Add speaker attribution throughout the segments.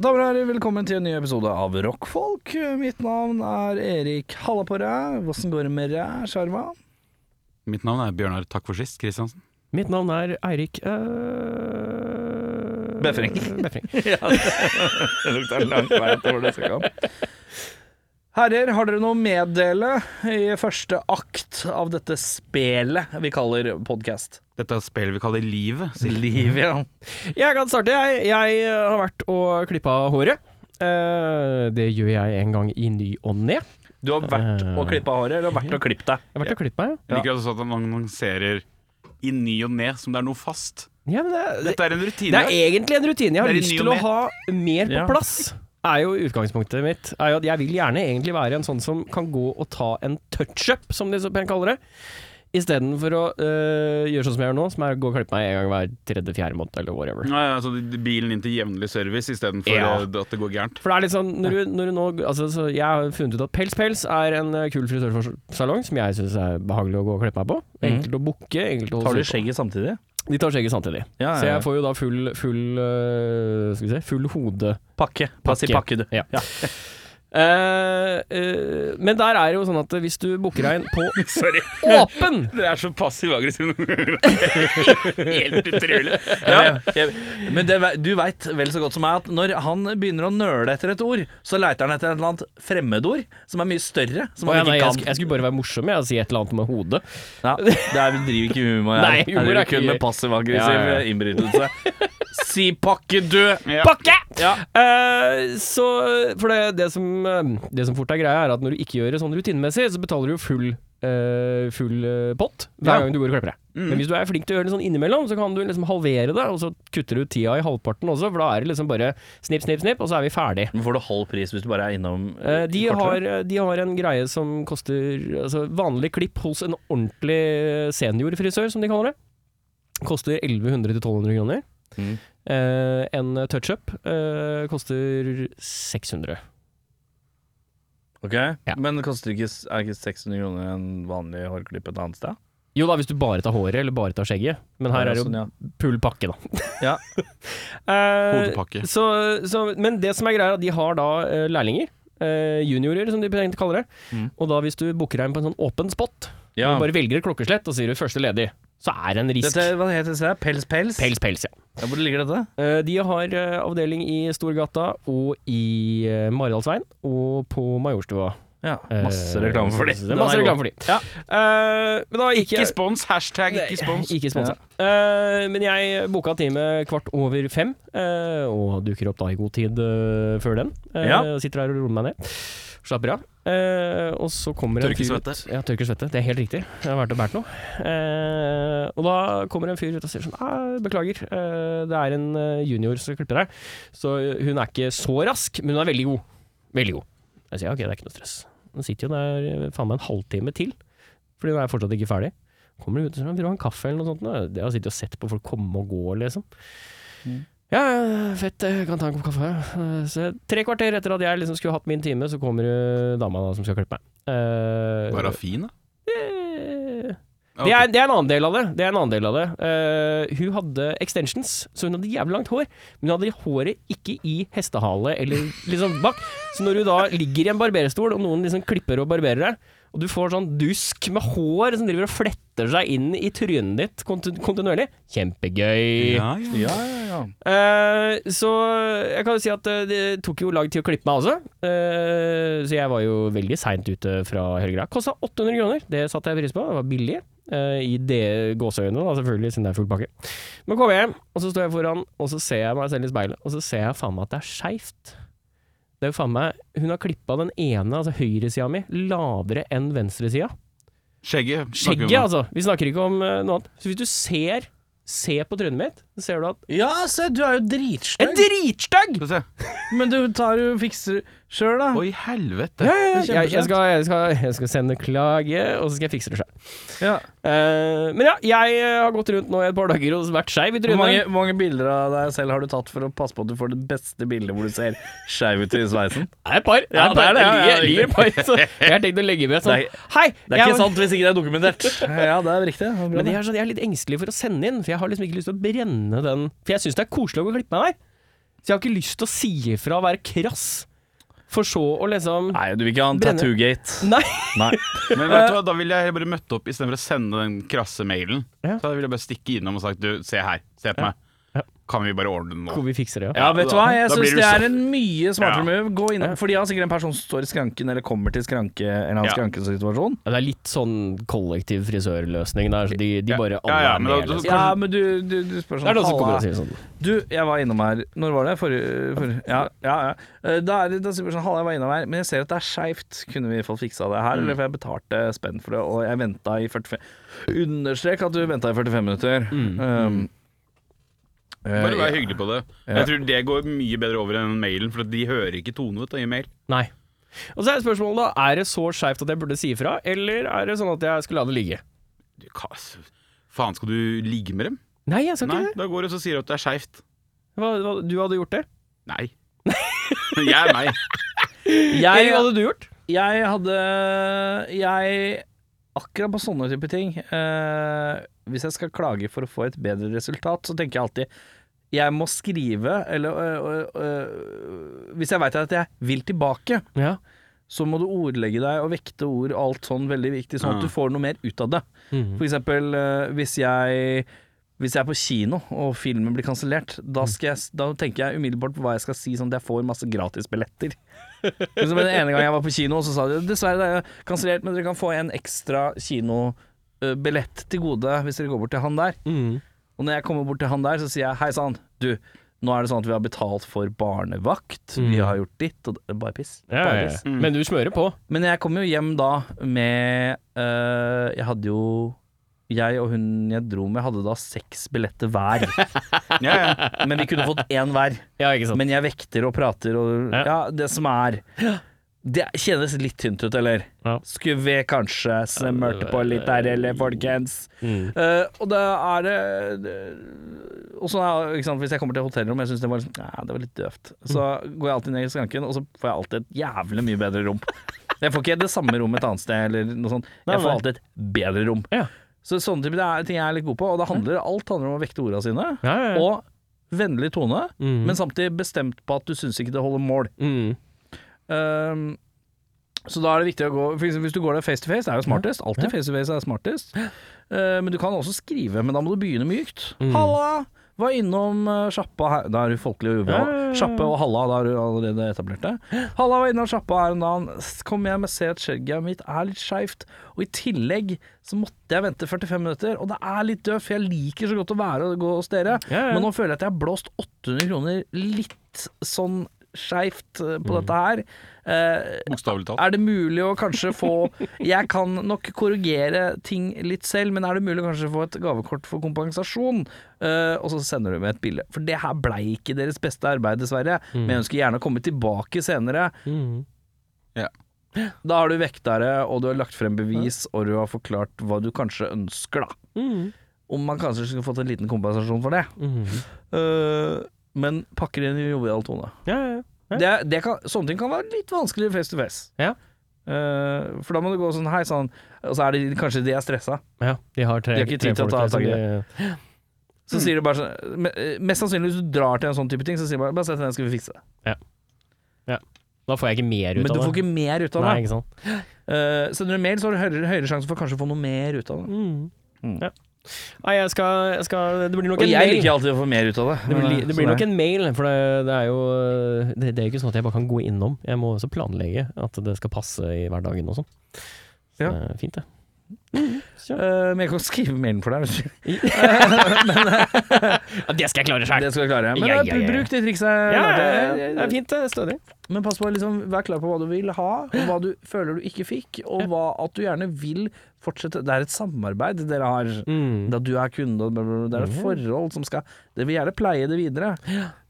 Speaker 1: hjertelig velkommen til en ny episode av Rockfolk. Mitt navn er Erik Halla på ræ. Åssen går det med ræ, Sjarma?
Speaker 2: Mitt navn er Bjørnar Takk for sist, Kristiansen.
Speaker 3: Mitt navn er Eirik eh. øh,
Speaker 1: Eh, Befring.
Speaker 3: Befring.
Speaker 1: Det lukter langt vei til hvor det skal komme. Herrer, har dere noe å meddele i første akt av dette spelet vi kaller podkast?
Speaker 2: Dette er spillet vi kaller Livet. sier-
Speaker 1: Liv, ja.
Speaker 3: Jeg kan starte, jeg. Jeg øh, har vært og klippa håret. Eh, det gjør jeg en gang i ny og ne. Jeg
Speaker 1: Du har vært
Speaker 3: Eh.
Speaker 1: og klippa håret, eller har vært og klippet deg?
Speaker 3: har vært og klippet meg, ja.
Speaker 2: Jeg liker også at han annonserer i ny og ne som det er noe fast.
Speaker 3: ja men det,
Speaker 2: Dette er en rutine.
Speaker 3: det er egentlig en rutine. Jeg har
Speaker 2: Det er i
Speaker 3: lyst
Speaker 2: ny
Speaker 3: til
Speaker 2: og
Speaker 3: å
Speaker 2: ne.
Speaker 3: ha mer på
Speaker 1: Ja.
Speaker 3: plass. Er jo utgangspunktet mitt. Er jo at jeg vil gjerne egentlig være en sånn som kan gå og ta en touch-up, som de så pent kaller det. Istedenfor å øh, gjøre sånn som jeg gjør nå, som er å gå og klippe meg en gang hver tredje-fjerde måned eller whatever.
Speaker 2: Ja, ja, så de- de- bilen inn til jevnlig service istedenfor
Speaker 3: Ja.
Speaker 2: at det går gærent.
Speaker 3: For det er litt sånn Når du, når du nå altså, så Jeg har funnet ut at Pels Pels er en eh, kul frisørsalong som jeg syns er behagelig å gå og klippe meg på. Enkelt å booke. enkelt å holde
Speaker 1: Mhm. Tar du
Speaker 3: styr på.
Speaker 1: skjegget samtidig?
Speaker 3: De tar skjegget samtidig.
Speaker 1: Ja,
Speaker 3: Så jeg får jo da full, full eh, Skal vi se Full hode.
Speaker 1: Pakke. Bare si
Speaker 3: Pakke.
Speaker 1: pakke, du.
Speaker 3: Ja. Eh, eh, men der er det jo sånn at hvis du booker deg inn på
Speaker 2: Sorry.
Speaker 3: åpen
Speaker 2: Dere er så passive aggressive noen ganger. Helt utrolig. Ja.
Speaker 1: Ja. jeg- Men det, ve- du veit vel så godt som meg at når han begynner å nøle etter et ord, så leiter han etter et eller annet fremmedord som er mye større. Som
Speaker 3: Å ja,
Speaker 1: han
Speaker 3: nei,
Speaker 1: ikke
Speaker 3: jeg,
Speaker 1: kan.
Speaker 3: sk- jeg skulle bare være morsom jeg, og si et eller annet med hodet.
Speaker 1: Ja, det er, vi driver ikke med humor her.
Speaker 3: Nei, humor
Speaker 1: her driver
Speaker 3: er
Speaker 1: vi
Speaker 3: ikke
Speaker 1: kun
Speaker 3: gøy.
Speaker 1: med passiv-aggressiv
Speaker 3: Ja, ja, ja.
Speaker 1: innbrytelse. Si pakke, du!
Speaker 2: Ja.
Speaker 3: Pakke!
Speaker 1: Ja.
Speaker 3: Eh, så For det, det, som, eh, det som fort er greia, er at når du ikke gjør det sånn rutinemessig, så betaler du jo full, eh, full eh, pott hver
Speaker 1: Ja. Mm.
Speaker 3: gang du går og klipper deg. Men hvis du er flink til å gjøre det sånn innimellom, så kan du liksom halvere det, og så kutter du tida i halvparten også, for da er det liksom bare snipp, snipp, snipp, og så er vi ferdig.
Speaker 1: Men får du halv pris hvis du bare er innom
Speaker 3: Eh, de,
Speaker 1: kortere?
Speaker 3: har, de har en greie som koster altså, Vanlig klipp hos en ordentlig seniorfrisør, som de kaller det. Koster 1100-1200 kroner.
Speaker 1: Mm.
Speaker 3: Eh, en touch-up eh, koster 600.
Speaker 1: Ok,
Speaker 3: Ja.
Speaker 1: Men det koster ikke, er ikke 600 kroner en vanlig hårklipp et annet sted?
Speaker 3: Jo da, hvis du bare tar håret, eller bare tar skjegget. Men her er det
Speaker 1: Sånn,
Speaker 3: jo
Speaker 1: ja.
Speaker 3: full pakke, da.
Speaker 1: Ja.
Speaker 3: Eh,
Speaker 2: Hodepakke.
Speaker 3: Så, så, men det som er greia, er at de har da eh, lærlinger. eh, juniorer, som de pleier å kalle det.
Speaker 1: Mm.
Speaker 3: Og da hvis du booker deg inn på en sånn åpen spot,
Speaker 1: Ja.
Speaker 3: bare velger et klokkeslett og sier du 'første ledig', så er det en risk.
Speaker 1: Dette, hva heter det? Pels, pels?
Speaker 3: Pels, pels, ja.
Speaker 1: Ja, hvor ligger dette?
Speaker 3: Eh, De har eh, avdeling i Storgata og i eh, Maridalsveien og på Majorstua.
Speaker 1: Ja,
Speaker 3: Eh,
Speaker 1: Masse reklame for de.
Speaker 3: så det er Masse
Speaker 1: Den er god.
Speaker 3: reklame for de.
Speaker 1: Ja.
Speaker 3: Eh, men da gikk
Speaker 2: Ikke
Speaker 3: jeg
Speaker 2: spons. Hashtag ikke spons.
Speaker 3: Ikke sponsa. Eh, men jeg boka time kvart over fem, eh, og dukker opp da i god tid eh, før den. Eh,
Speaker 1: Ja.
Speaker 3: Sitter her og roer meg ned. Slapper av. Eh, og så kommer en
Speaker 2: Tørker
Speaker 3: fyr ut-
Speaker 2: svette.
Speaker 3: Ja, tørker svette. Det er helt riktig. Jeg har vært og båret noe. Eh, og da kommer en fyr ut og sier sånn «Ah, Beklager, eh, det er en eh, junior som klipper deg. Så hun er ikke så rask, men hun er veldig god. Veldig god. Jeg sier ok, det er ikke noe stress. Hun sitter jo der eh, faen meg en halvtime til, fordi hun er fortsatt ikke ferdig. Kommer hun ut og sier sånn, «Vil du ha en kaffe eller noe sånt? nå?» Jeg har sittet og sett på folk komme og gå, liksom. Ja, fett, jeg kan ta en kopp kaffe. Eh, Så tre kvarter etter at jeg liksom skulle hatt min time, så kommer eh, dama da som skal klippe meg. Eh,
Speaker 2: Var hun fin, da?
Speaker 3: eh,
Speaker 2: Ok.
Speaker 3: det, er, det er en annen del av det. det, er en annen del av det. Eh, hun hadde extensions, så hun hadde jævlig langt hår. Men hun hadde håret ikke i hestehale eller liksom bak. Så når du da ligger i en barberstol, og noen liksom klipper og barberer deg, og du får sånn dusk med hår som driver og fletter seg inn i trynet ditt kontin kontinuerlig Kjempegøy.
Speaker 2: ja, ja.
Speaker 1: Ja, ja, ja.
Speaker 3: Eh, så jeg kan jo si at eh, det tok jo lag til å klippe meg også. Eh, så jeg var jo veldig seint ute fra helga. Kosta 800 kroner, det satte jeg pris på. Det var billig. eh, I det gåseøynene, da, selvfølgelig, siden det er full pakke. Men kommer jeg hjem, og så står jeg foran, og så ser jeg meg selv i speilet, og så ser jeg faen meg at det er skeivt. Det er jo faen meg Hun har klippa den ene, altså høyresida mi, lavere enn venstresida.
Speaker 2: Skjegget. snakker vi om.
Speaker 3: Skjegget, altså. Vi snakker ikke om eh, noe annet. Så hvis du ser, ser på trynet mitt, så ser du at
Speaker 1: ja se, du er jo
Speaker 3: En
Speaker 1: dritstygg.
Speaker 3: dritstygg!
Speaker 2: Skal vi se.
Speaker 1: Men du tar jo fikser sjøl, da.
Speaker 2: Oi, helvete.
Speaker 3: Ja,
Speaker 1: Det
Speaker 3: ja,
Speaker 1: er
Speaker 3: ja. Jeg,
Speaker 1: kjempesent.
Speaker 3: jeg, skal, jeg, skal, jeg skal sende klage, og så skal jeg fikse det sjøl.
Speaker 1: Ja.
Speaker 3: men ja, jeg eh, har gått rundt nå i et par dager og vært skeiv i
Speaker 1: Hvor mange,
Speaker 3: trynet.
Speaker 1: hvor mange bilder av deg selv har du tatt for å passe på at du får det beste bildet hvor du ser skeiv ut i sveisen?
Speaker 3: Det er et par.
Speaker 1: Ja,
Speaker 3: et par.
Speaker 1: det er det, ja, ja,
Speaker 3: Jeg ligger- ligger et par, så jeg har tenkt å legge med sånn.
Speaker 1: Det er-
Speaker 3: Hei!
Speaker 1: Det er
Speaker 3: jeg
Speaker 1: ikke
Speaker 3: var-
Speaker 1: sant hvis ikke det er dokumentert. Ja, det er riktig. Det er bra,
Speaker 3: Men
Speaker 1: det.
Speaker 3: jeg er, sånn, jeg er litt engstelig for å sende inn, for jeg har liksom ikke lyst til å brenne den For jeg syns det er koselig å gå og klippe meg der. Så jeg har ikke lyst til å si ifra og være krass, for så å liksom
Speaker 1: Nei, du vil ikke ha en
Speaker 3: Brenne.
Speaker 1: tattoo-gate.
Speaker 3: Nei!
Speaker 1: Nei.
Speaker 2: Men vet du hva, da ville jeg bare møtt opp istedenfor å sende den krasse mailen.
Speaker 3: Ja.
Speaker 2: Så da ville jeg bare stikke innom og sagt du, se her, se på
Speaker 3: Ja.
Speaker 2: meg. Kan vi bare ordne det nå?
Speaker 3: Hvor vi fikser det, ja.
Speaker 1: Ja, vet du hva, jeg
Speaker 2: Da blir
Speaker 1: syns
Speaker 2: du
Speaker 1: det
Speaker 2: så-
Speaker 1: er en mye smartere
Speaker 2: Ja.
Speaker 1: move. Gå inn, for de har sikkert en person som står i skranken, eller kommer til skranke, en eller annen
Speaker 2: Ja.
Speaker 1: skrankesituasjon.
Speaker 3: Ja, Det er litt sånn kollektiv frisørløsning der, så de, de
Speaker 2: Ja,
Speaker 3: bare alle
Speaker 2: ja,
Speaker 3: er
Speaker 2: men
Speaker 3: med.
Speaker 2: da-
Speaker 3: liksom.
Speaker 1: Ja, men du, du, du spør sånn
Speaker 3: Det er noen som
Speaker 1: «Halla,
Speaker 3: kommer og sier sånn.
Speaker 1: Du, jeg var innom her Når var det? Forrige for, Ja, ja. ja. Eh, Da er det da sier jeg sånn Halla, jeg var innom her, men jeg ser at det er skeivt. Kunne vi fått fiksa det her, eller? For jeg betalte spenn for det, og jeg venta i 45 Understrek at du venta i 45 minutter. Um, eh,
Speaker 2: Bare vær hyggelig på det. Jeg tror det går mye bedre over enn mailen, for de hører ikke tonen ut av e-mail.
Speaker 3: Nei. Og så er spørsmålet da, er det så skeivt at jeg burde si ifra, eller er det sånn at jeg skal la det ligge?
Speaker 2: Du, hva s- Faen, skal du ligge med dem?
Speaker 3: Nei, jeg skal
Speaker 2: Nei,
Speaker 3: ikke det.
Speaker 2: da går det og så sier du at det er skeivt.
Speaker 3: Hva, hva, du hadde gjort det?
Speaker 2: Nei. Jeg er meg.
Speaker 3: Eller hva
Speaker 1: jeg,
Speaker 3: hadde du gjort?
Speaker 1: jeg hadde Jeg Akkurat på sånne type ting eh, Hvis jeg skal klage for å få et bedre resultat, så tenker jeg alltid jeg må skrive, eller øh, øh, øh, Hvis jeg veit at jeg vil tilbake,
Speaker 3: Ja.
Speaker 1: så må du ordlegge deg og vekte ord og alt sånn veldig viktig, sånn at
Speaker 2: Ja.
Speaker 1: du får noe mer ut av det.
Speaker 3: Mhm.
Speaker 1: For eksempel eh, hvis jeg hvis jeg er på kino og filmen blir kansellert,
Speaker 3: Mhm.
Speaker 1: da, skal jeg s- da tenker jeg umiddelbart på hva jeg skal si, sånn at jeg får masse gratisbilletter. Liksom den ene gangen jeg var på kino, så sa de dessverre det er kansellert, men dere kan få en ekstra kinobillett til gode hvis dere går bort til han der.
Speaker 3: Mhm.
Speaker 1: Og når jeg kommer bort til han der, så sier jeg hei sann, du, nå er det sånn at vi har betalt for barnevakt,
Speaker 3: Mm.
Speaker 1: vi har gjort ditt, og det- bare piss.
Speaker 3: Ja,
Speaker 1: Bare
Speaker 3: ja,
Speaker 1: piss.
Speaker 3: ja. Men du smører på.
Speaker 1: Men jeg kom jo hjem da med øh, Jeg hadde jo Jeg og hun jeg dro med, hadde da seks billetter hver.
Speaker 2: Ja, ja.
Speaker 1: Men vi kunne fått én hver.
Speaker 3: Ja, ikke sant.
Speaker 1: Men jeg vekter og prater og
Speaker 3: Ja.
Speaker 1: Ja, det som er Det kjennes litt tynt ut, eller?
Speaker 3: Ja.
Speaker 1: Skulle vi kanskje smørt på litt der, eller, folkens?
Speaker 3: Mhm.
Speaker 1: Eh, og da er det, det Og sånn er ikke sant, Hvis jeg kommer til hotellrom og jeg syns det, var- liksom, ja, det var litt døvt, så går jeg alltid ned i skranken, og så får jeg alltid et jævlig mye bedre rom. Jeg får ikke det samme rommet et annet sted, eller noe sånt.
Speaker 3: Nei,
Speaker 1: Jeg får
Speaker 3: nei.
Speaker 1: alltid et bedre rom.
Speaker 3: Ja.
Speaker 1: Så sånne type det er ting jeg er litt god på, og det handler, alt handler om å vekte orda sine.
Speaker 3: Ja, ja, ja.
Speaker 1: Og vennlig tone,
Speaker 3: Mhm.
Speaker 1: men samtidig bestemt på at du syns ikke det holder mål.
Speaker 3: Mhm.
Speaker 1: Um, så da er det viktig å gå for eksempel, Hvis du går der face to face, det er jo smartest. Alltid face to face er smartest. Uh, men du kan også skrive, men da må du begynne mykt.
Speaker 3: Mm.
Speaker 1: 'Halla! Var innom uh, sjappa her Da er du folkelig og jovial.
Speaker 3: Ja, ja, ja.
Speaker 1: Sjappe og halla, da er du allerede etablert det. 'Halla, var innom sjappa her om dagen. S- Kom hjem og se at skjegget mitt er litt skeivt.' Og i tillegg så måtte jeg vente 45 minutter, og det er litt døvt, for jeg liker så godt å være og gå hos dere,
Speaker 3: Ja, ja.
Speaker 1: men nå føler jeg at jeg har blåst 800 kroner litt sånn skeivt eh,
Speaker 3: Mm.
Speaker 1: på dette her. Eh,
Speaker 2: Bokstavelig talt.
Speaker 1: er det mulig å kanskje få Jeg kan nok korrigere ting litt selv, men er det mulig å kanskje få et gavekort for kompensasjon? Eh, og så sender du med et bilde. For det her blei ikke deres beste arbeid, dessverre. Men jeg ønsker gjerne å komme tilbake senere.
Speaker 3: Mhm.
Speaker 1: Da har du vektere, og du har lagt frem bevis, og du har forklart hva du kanskje ønsker, da.
Speaker 3: Mhm.
Speaker 1: Om man kanskje skulle fått en liten kompensasjon for det.
Speaker 3: Mhm.
Speaker 1: Eh, men pakker inn i jovial tone.
Speaker 3: Ja, ja, ja.
Speaker 1: det, det kan, Sånne ting kan være litt vanskeligere face to face.
Speaker 3: Ja.
Speaker 1: Eh, for da må du gå sånn hei sann, og så er det kanskje de er stressa.
Speaker 3: Ja, de har tre
Speaker 1: De har ikke
Speaker 3: tre
Speaker 1: tid til å
Speaker 3: folk
Speaker 1: ta
Speaker 3: der som
Speaker 1: tak i
Speaker 3: de-
Speaker 1: Så
Speaker 3: Mm.
Speaker 1: sier du bare sånn me- eh, Mest sannsynlig hvis du drar til en sånn type ting, så sier du bare bare sett den, skal vi fikse det.
Speaker 3: Da får jeg ikke mer ut
Speaker 1: Men
Speaker 3: av
Speaker 1: du
Speaker 3: det.
Speaker 1: får ikke mer ut av
Speaker 3: Nei,
Speaker 1: det.
Speaker 3: ikke sant.
Speaker 1: Eh, sender du mail, så har du høyere, høyere sjanse for kanskje å få noe mer ut av det. Mm.
Speaker 3: Ja. Nei, jeg skal, jeg skal Det blir nok
Speaker 1: Og
Speaker 3: en
Speaker 1: jeg
Speaker 3: mail.
Speaker 1: liker alltid å få mer ut av det.
Speaker 3: Det blir,
Speaker 1: men, eh,
Speaker 3: li- det
Speaker 1: sånn
Speaker 3: blir nok
Speaker 1: er
Speaker 3: en mail, for det, det er jo det, det er jo ikke sånn at jeg bare kan gå innom. Jeg må også planlegge at det skal passe i hverdagen og sånn. Så
Speaker 1: Ja.
Speaker 3: det er Fint, det.
Speaker 1: det. Eh, men jeg kan skrive mailen for deg. hvis du-
Speaker 3: det skal jeg klare
Speaker 1: Det skal jeg klare. Men
Speaker 3: Ja,
Speaker 1: eh,
Speaker 3: ja, ja.
Speaker 1: bruk det trikset.
Speaker 3: Ja,
Speaker 1: Larte.
Speaker 3: det er fint, det. Stødig.
Speaker 1: Men pass på, å liksom, vær klar på hva du vil ha, og hva du føler du ikke fikk, og hva at du gjerne vil fortsette. Det er et samarbeid dere har. Da du er kunde, og bla, bla, bla. det er et forhold som skal Dere vil gjerne pleie det videre.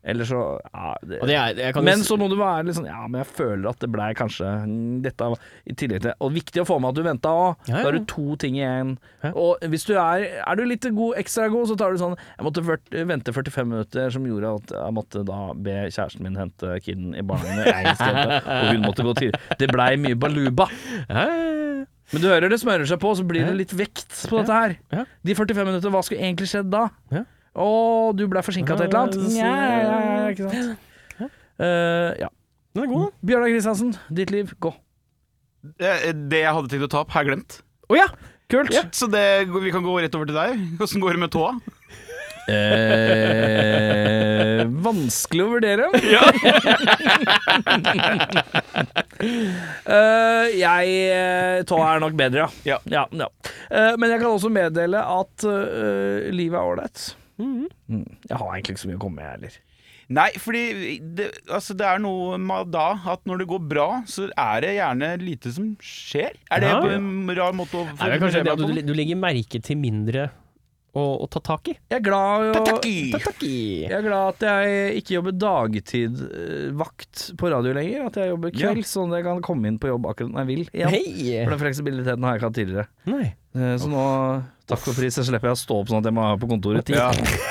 Speaker 1: Eller så ja, det,
Speaker 3: Og det er, jeg kan jo
Speaker 1: Men
Speaker 3: s-
Speaker 1: så må du være litt sånn Ja, men jeg føler at det blei kanskje mm, Dette var- i tillegg til Og viktig å få med at du venta òg.
Speaker 3: Ja, ja.
Speaker 1: Da har du to ting igjen.
Speaker 3: Ja.
Speaker 1: Og hvis du er Er du litt god, ekstra god, så tar du sånn Jeg måtte ført- vente 45 minutter, som gjorde at jeg måtte da be kjæresten min hente kiden i barnehagen. Jeg skulle hente, Og hun måtte gå tidlig. Det blei mye baluba.
Speaker 3: Ja, ja,
Speaker 1: Men du hører det smører seg på, så blir det litt vekt på dette her.
Speaker 3: Ja.
Speaker 1: De 45 minutter, hva skulle egentlig skjedd da?
Speaker 3: Ja.
Speaker 1: Å, du ble forsinka til et eller annet.
Speaker 3: Ja, ja, ja, ja, ikke
Speaker 1: sant. Eh, ja.
Speaker 3: Den er god, da.
Speaker 1: Bjørnar Kristiansen, ditt liv, gå.
Speaker 2: Eh, Det jeg hadde tenkt å ta opp, har jeg glemt.
Speaker 1: Å ja, kult.
Speaker 2: Så det, vi kan gå rett over til deg. Åssen går det med tåa?
Speaker 1: Eh, vanskelig å vurdere. Eh, jeg eh, Tåa er nok bedre, ja.
Speaker 2: Ja.
Speaker 1: ja. Eh, men jeg kan også meddele at eh, livet er ålreit. Mm. Jeg har egentlig ikke så mye å komme med, jeg heller.
Speaker 2: Nei, fordi det, altså det er noe med da at når det går bra, så er det gjerne lite som skjer. Er det
Speaker 3: Ja.
Speaker 2: en rar måte å
Speaker 3: Nei, men kanskje det at
Speaker 2: på?
Speaker 3: du, du legger merke til mindre å, å ta tak i.
Speaker 1: Jeg er glad i å-
Speaker 2: Tataki!
Speaker 1: jeg er glad at jeg ikke jobber dagtidvakt på radio lenger. At jeg jobber
Speaker 2: Ja.
Speaker 1: kveld, sånn at jeg kan komme inn på jobb akkurat når jeg vil. igjen.
Speaker 3: Hei!
Speaker 1: For den fleksibiliteten har jeg ikke hatt tidligere.
Speaker 3: Nei.
Speaker 1: Eh, Så nå, takk for pris, så slipper jeg å stå opp sånn at jeg må være på kontoret ti.
Speaker 2: Ja.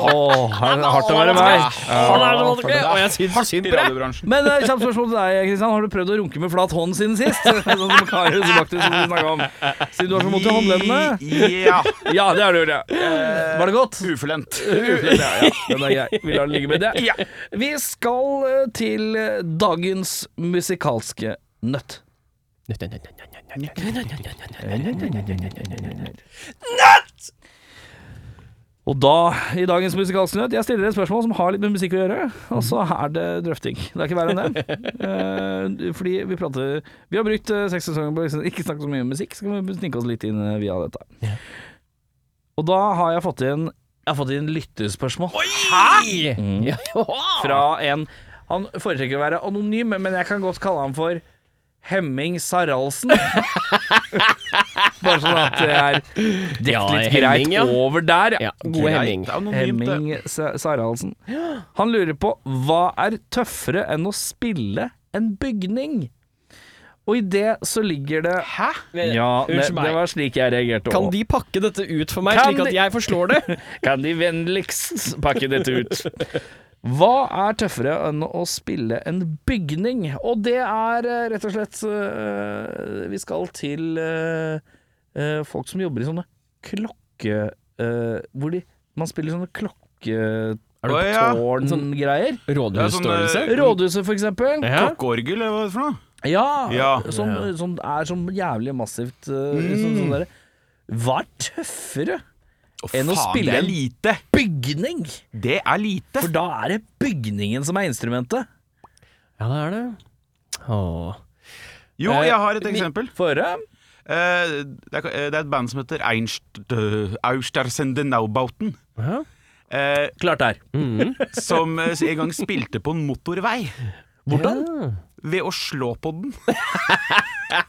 Speaker 1: Åh, her er det hardt å være meg.
Speaker 3: Sånn er det, Oddgeir. Og jeg syns synd
Speaker 2: I
Speaker 3: på deg.
Speaker 2: radiobransjen.
Speaker 1: Men eh, kjapt spørsmål til deg, Kristian. Har du prøvd å runke med flat hånd siden sist? Sånn som Karius og Baktus som vi snakket om. Siden du har så vondt i håndleddene.
Speaker 2: Ja.
Speaker 1: Ja, det har du gjort, ja. Eh, Var det godt?
Speaker 2: Uforlent.
Speaker 1: Den er grei. Vi lar den ligge med det.
Speaker 2: Ja.
Speaker 1: Vi skal eh, til eh, dagens musikalske nøtt. Og da, i dagens musikalske nøtt, jeg stiller et spørsmål som har litt med musikk å gjøre, og så
Speaker 3: Mhm.
Speaker 1: er det drøfting. Det er ikke verre enn det. Eh, fordi vi prater Vi har brukt eh, seks sesonger på å ikke snakke så mye om musikk, så kan vi snike oss litt inn eh, via dette.
Speaker 3: Ja.
Speaker 1: Og da har jeg fått inn Jeg har fått inn lytterspørsmål
Speaker 3: Hei! Mm. Ja.
Speaker 1: fra en Han foretrekker å være anonym, men jeg kan godt kalle han for Hemming Saraldsen. Bare sånn at det er dekt
Speaker 3: Ja,
Speaker 1: litt greit
Speaker 3: Hemming, ja.
Speaker 1: over der.
Speaker 3: Ja, gode Hemming.
Speaker 2: Greit, anonymt, det.
Speaker 1: Hemming Sa- Saraldsen. Han lurer på hva er tøffere enn å spille en bygning? Og i det så ligger det
Speaker 2: Hæ?
Speaker 1: Ja, det,
Speaker 3: Unnskyld meg.
Speaker 1: det var slik jeg reagerte
Speaker 3: Kan
Speaker 1: òg.
Speaker 3: de pakke dette ut for meg,
Speaker 1: Kan
Speaker 3: slik
Speaker 1: de-
Speaker 3: at jeg forslår det?
Speaker 1: Kan de vennligst pakke dette ut? Hva er tøffere enn å spille en bygning? Og det er eh, rett og slett eh, Vi skal til eh, eh, folk som jobber i sånne klokke... eh, hvor de, man spiller sånne
Speaker 2: du på Å, ja. Sånn-
Speaker 1: klokketårn-greier.
Speaker 3: Rådhusstørrelse?
Speaker 2: Det er sånn, eh,
Speaker 1: Rådhuset, for eksempel.
Speaker 3: Ja.
Speaker 2: Klokkeorgel, eller hva er det for noe?
Speaker 1: Ja,
Speaker 2: Ja. Mm.
Speaker 1: Som,
Speaker 3: Ja.
Speaker 1: som er sånn jævlig massivt. eh, sånn, sånn derre. Hva er tøffere? Enn å spille
Speaker 2: det
Speaker 1: en-
Speaker 2: er lite.
Speaker 1: Bygning!
Speaker 2: Det er lite.
Speaker 1: For da er det bygningen som er instrumentet.
Speaker 3: Ja, det er det. Åh.
Speaker 2: Jo,
Speaker 3: Eh,
Speaker 2: jeg har et
Speaker 3: mi-
Speaker 2: eksempel.
Speaker 1: Få høre.
Speaker 2: Eh, Det er det er et band som heter Einst- øh, Austersende Naubauten.
Speaker 3: Hæ?
Speaker 2: eh,
Speaker 1: Klart det er.
Speaker 3: Mhm.
Speaker 2: Som eh, en gang spilte på en motorvei
Speaker 1: Hvordan?
Speaker 3: Ja.
Speaker 2: ved å slå på den.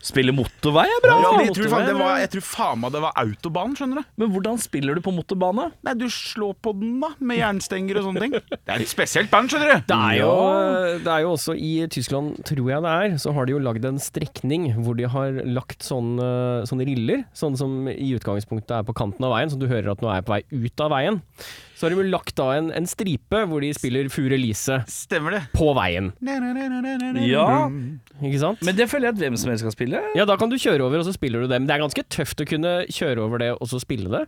Speaker 1: Spille motorvei er bra.
Speaker 2: Ja,
Speaker 3: Ja,
Speaker 2: de tror faen, det
Speaker 3: motorvei,
Speaker 2: var, jeg tror faen meg det var autobahn, skjønner du.
Speaker 1: Men hvordan spiller du på motorbane?
Speaker 2: Nei, du slår på den, da, med jernstenger og sånne ting. Det er et spesielt band, skjønner du.
Speaker 3: Det er, jo, eh,
Speaker 1: Ja.
Speaker 3: det er jo også i Tyskland, tror jeg det er, så har de jo lagd en strekning hvor de har lagt sånne, sånne riller, sånn som i utgangspunktet er på kanten av veien, som du hører at nå er på vei ut av veien. Så har de jo lagt da en, en stripe hvor de spiller Fure Lise
Speaker 2: Stemmer det.
Speaker 3: på veien,
Speaker 1: Ja.
Speaker 3: ikke sant?
Speaker 1: Men det føler jeg at hvem som helst skal spille.
Speaker 3: ja, da kan du kjøre over, og så spiller du det. Men det er ganske tøft å kunne kjøre over det, og så spille det.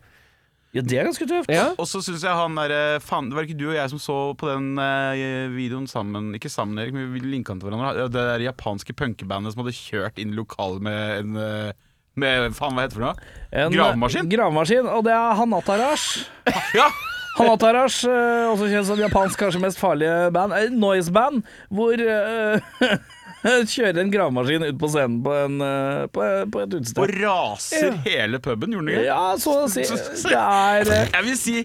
Speaker 1: Ja, det er ganske tøft.
Speaker 3: Ja.
Speaker 2: Og så syns jeg han derre Faen, det var ikke du og jeg som så på den eh, videoen sammen Ikke sammen, Erik, men vi linka den til hverandre. Det der japanske punkebandet som hadde kjørt inn i lokalet med en eh, med, faen, hva heter det for noe?
Speaker 1: En, eh,
Speaker 2: Gravemaskin?
Speaker 1: Gravemaskin, Og det er Hanatarash.
Speaker 2: Ja!
Speaker 1: Hanatarash, eh, også kjent som japansk kanskje mest farlige band. eh, Noise band, hvor eh, Kjører en gravemaskin ut på scenen på, en, eh, på, på et
Speaker 2: Og
Speaker 1: utested.
Speaker 2: raser hele puben, gjorde den ikke?
Speaker 1: Ja, så å si. Det er eh,
Speaker 2: Jeg vil si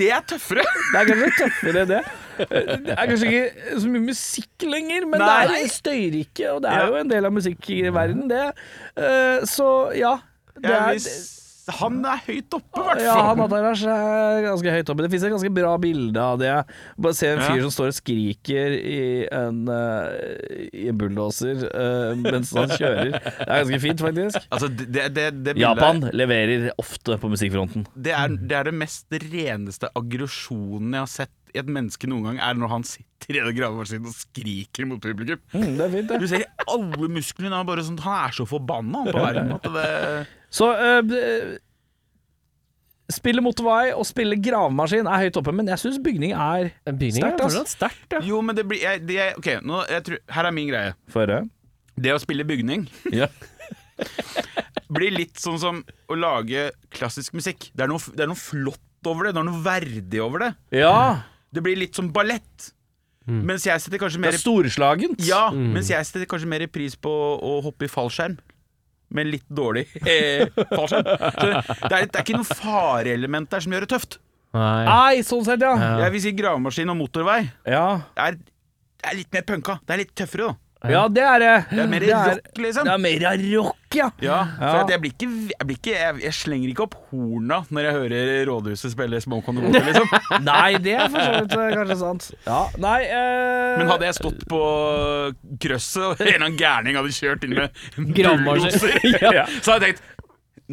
Speaker 2: det er tøffere.
Speaker 1: Det er kanskje tøffere det. Det er kanskje ikke så mye musikk lenger, men det
Speaker 2: Nei.
Speaker 1: er støyrike, og det
Speaker 2: Ja.
Speaker 1: er jo en del av musikkverdenen, det. Eh, Så ja. Det
Speaker 2: Jeg
Speaker 1: er,
Speaker 2: vil s- han er høyt oppe, i hvert
Speaker 1: ja, han
Speaker 2: fall.
Speaker 1: Atarash er ganske høyt oppe. Det fins et ganske bra bilde av det. Bare se en fyr
Speaker 2: Ja.
Speaker 1: som står og skriker i en, eh, i en bulldoser eh, mens han kjører. Det er ganske fint, faktisk.
Speaker 2: Altså, det, det, det, det bildet
Speaker 1: Japan leverer ofte på musikkfronten.
Speaker 2: det er, det er det mest reneste aggresjonen jeg har sett i et menneske noen gang, er når han sitter i den gravemaskinen og skriker mot publikum.
Speaker 1: Mm, det er fint, det.
Speaker 2: Du ser alle musklene, han er bare sånn Han er så forbanna han på verden at det
Speaker 1: Så eh, b- eh, Spille motorvei og spille gravemaskin er høyt oppe, men jeg syns bygning er
Speaker 3: Bygningen
Speaker 1: Sterkt,
Speaker 3: er
Speaker 1: ass.
Speaker 3: fortsatt sterkt, ja.
Speaker 2: Jo, men det blir jeg, det, jeg- Ok, nå, jeg tror, her er min greie.
Speaker 1: Føre.
Speaker 2: Det å spille bygning
Speaker 1: Ja.
Speaker 2: blir litt sånn som å lage klassisk musikk. Det er noe, det er noe flott over det, det er noe verdig over det.
Speaker 1: ja.
Speaker 2: Det blir litt som ballett. Mens jeg setter kanskje
Speaker 1: Det
Speaker 2: mer
Speaker 1: er storslagent.
Speaker 2: Ja, mens jeg setter kanskje mer pris på å hoppe i fallskjerm. Med litt dårlig eh, fallskjerm. Så det, er, det er ikke noe fareelement der som gjør det tøft.
Speaker 3: Nei.
Speaker 1: Nei, sånn sett, ja.
Speaker 3: Ja.
Speaker 2: Jeg vil si gravemaskin og motorvei
Speaker 1: Ja,
Speaker 2: er, er litt mer punka. Det er litt tøffere, da.
Speaker 1: ja det er eh, Mm. det.
Speaker 2: Det er mer rock, liksom.
Speaker 1: Det er mer rock, ja.
Speaker 2: Ja, for
Speaker 1: Ja.
Speaker 2: at jeg blir ikke, jeg, blir ikke jeg, jeg slenger ikke opp horna når jeg hører Rådhuset spille Små kondomer, liksom.
Speaker 1: Nei, det er for så vidt eh, kanskje sant. Ja, nei eh,
Speaker 2: Men hadde jeg stått på krøsset, og en eller annen gærning hadde kjørt inn med
Speaker 3: Gravemaskiner.
Speaker 2: bulldoser,
Speaker 1: Ja.
Speaker 2: så hadde jeg tenkt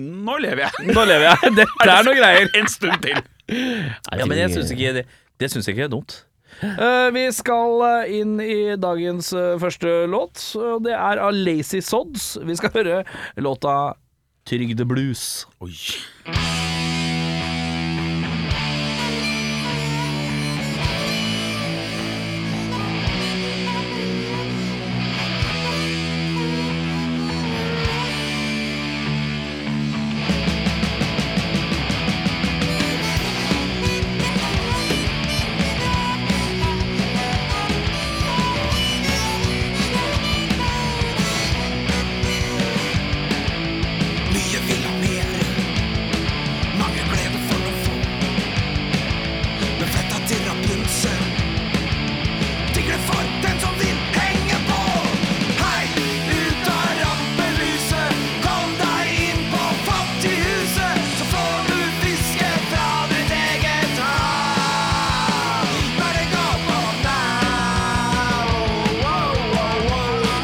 Speaker 2: Nå lever jeg.
Speaker 1: Nå lever jeg. Det, det er noe greier.
Speaker 2: En stund til.
Speaker 1: Ja, men jeg syns ikke det, det synes jeg ikke er dumt. Eh, vi skal eh, inn i dagens eh, første låt, og det er av Lazy Sods. Vi skal høre låta 'Trygde Blues'.
Speaker 2: Oi.
Speaker 4: Mye vil ha mer Mange gleder for å få Men fletta til Rapunzel Digler for den som vil henge på Hei, ut av rampelyset Kom deg inn på fattighuset Så får du fiske fra ditt eget hav Bare gå på now oh, oh, oh, oh.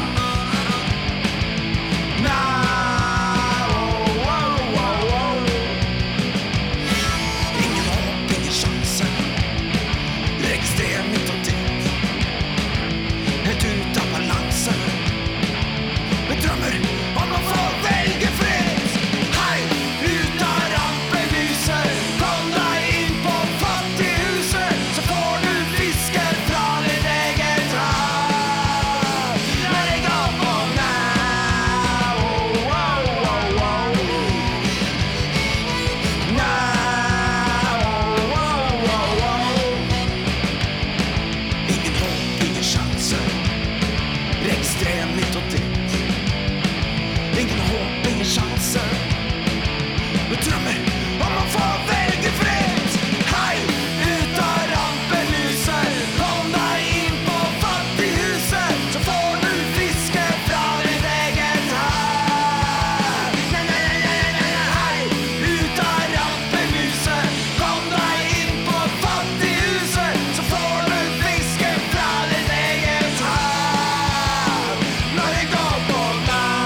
Speaker 4: Ingen håp, ingen sjanse. Registrer mitt og ditt. Helt ut av balanse. Med drømmer om å få velge fritt. Hei, ut av rampelyset. Kom deg inn på fattighuset, så får du fiske fra ditt eget hav. Let it go for now. Oh, oh, oh, oh. Now. Oh, oh, oh. Ingen håp, ingen sjanse. Registrer mitt og ditt. Ingen håp, ingen sjanse. Du drømmer om å få velge fritt. Hei, ut av rampelyset. Kom deg inn på fattighuset, så får du fiske fra ditt eget hav. Nei, nei, nei, nei, nei, nei, hei, ut av rampelyset. Kom deg inn på fattighuset, så får du fiske fra ditt eget hav. Når det går på now.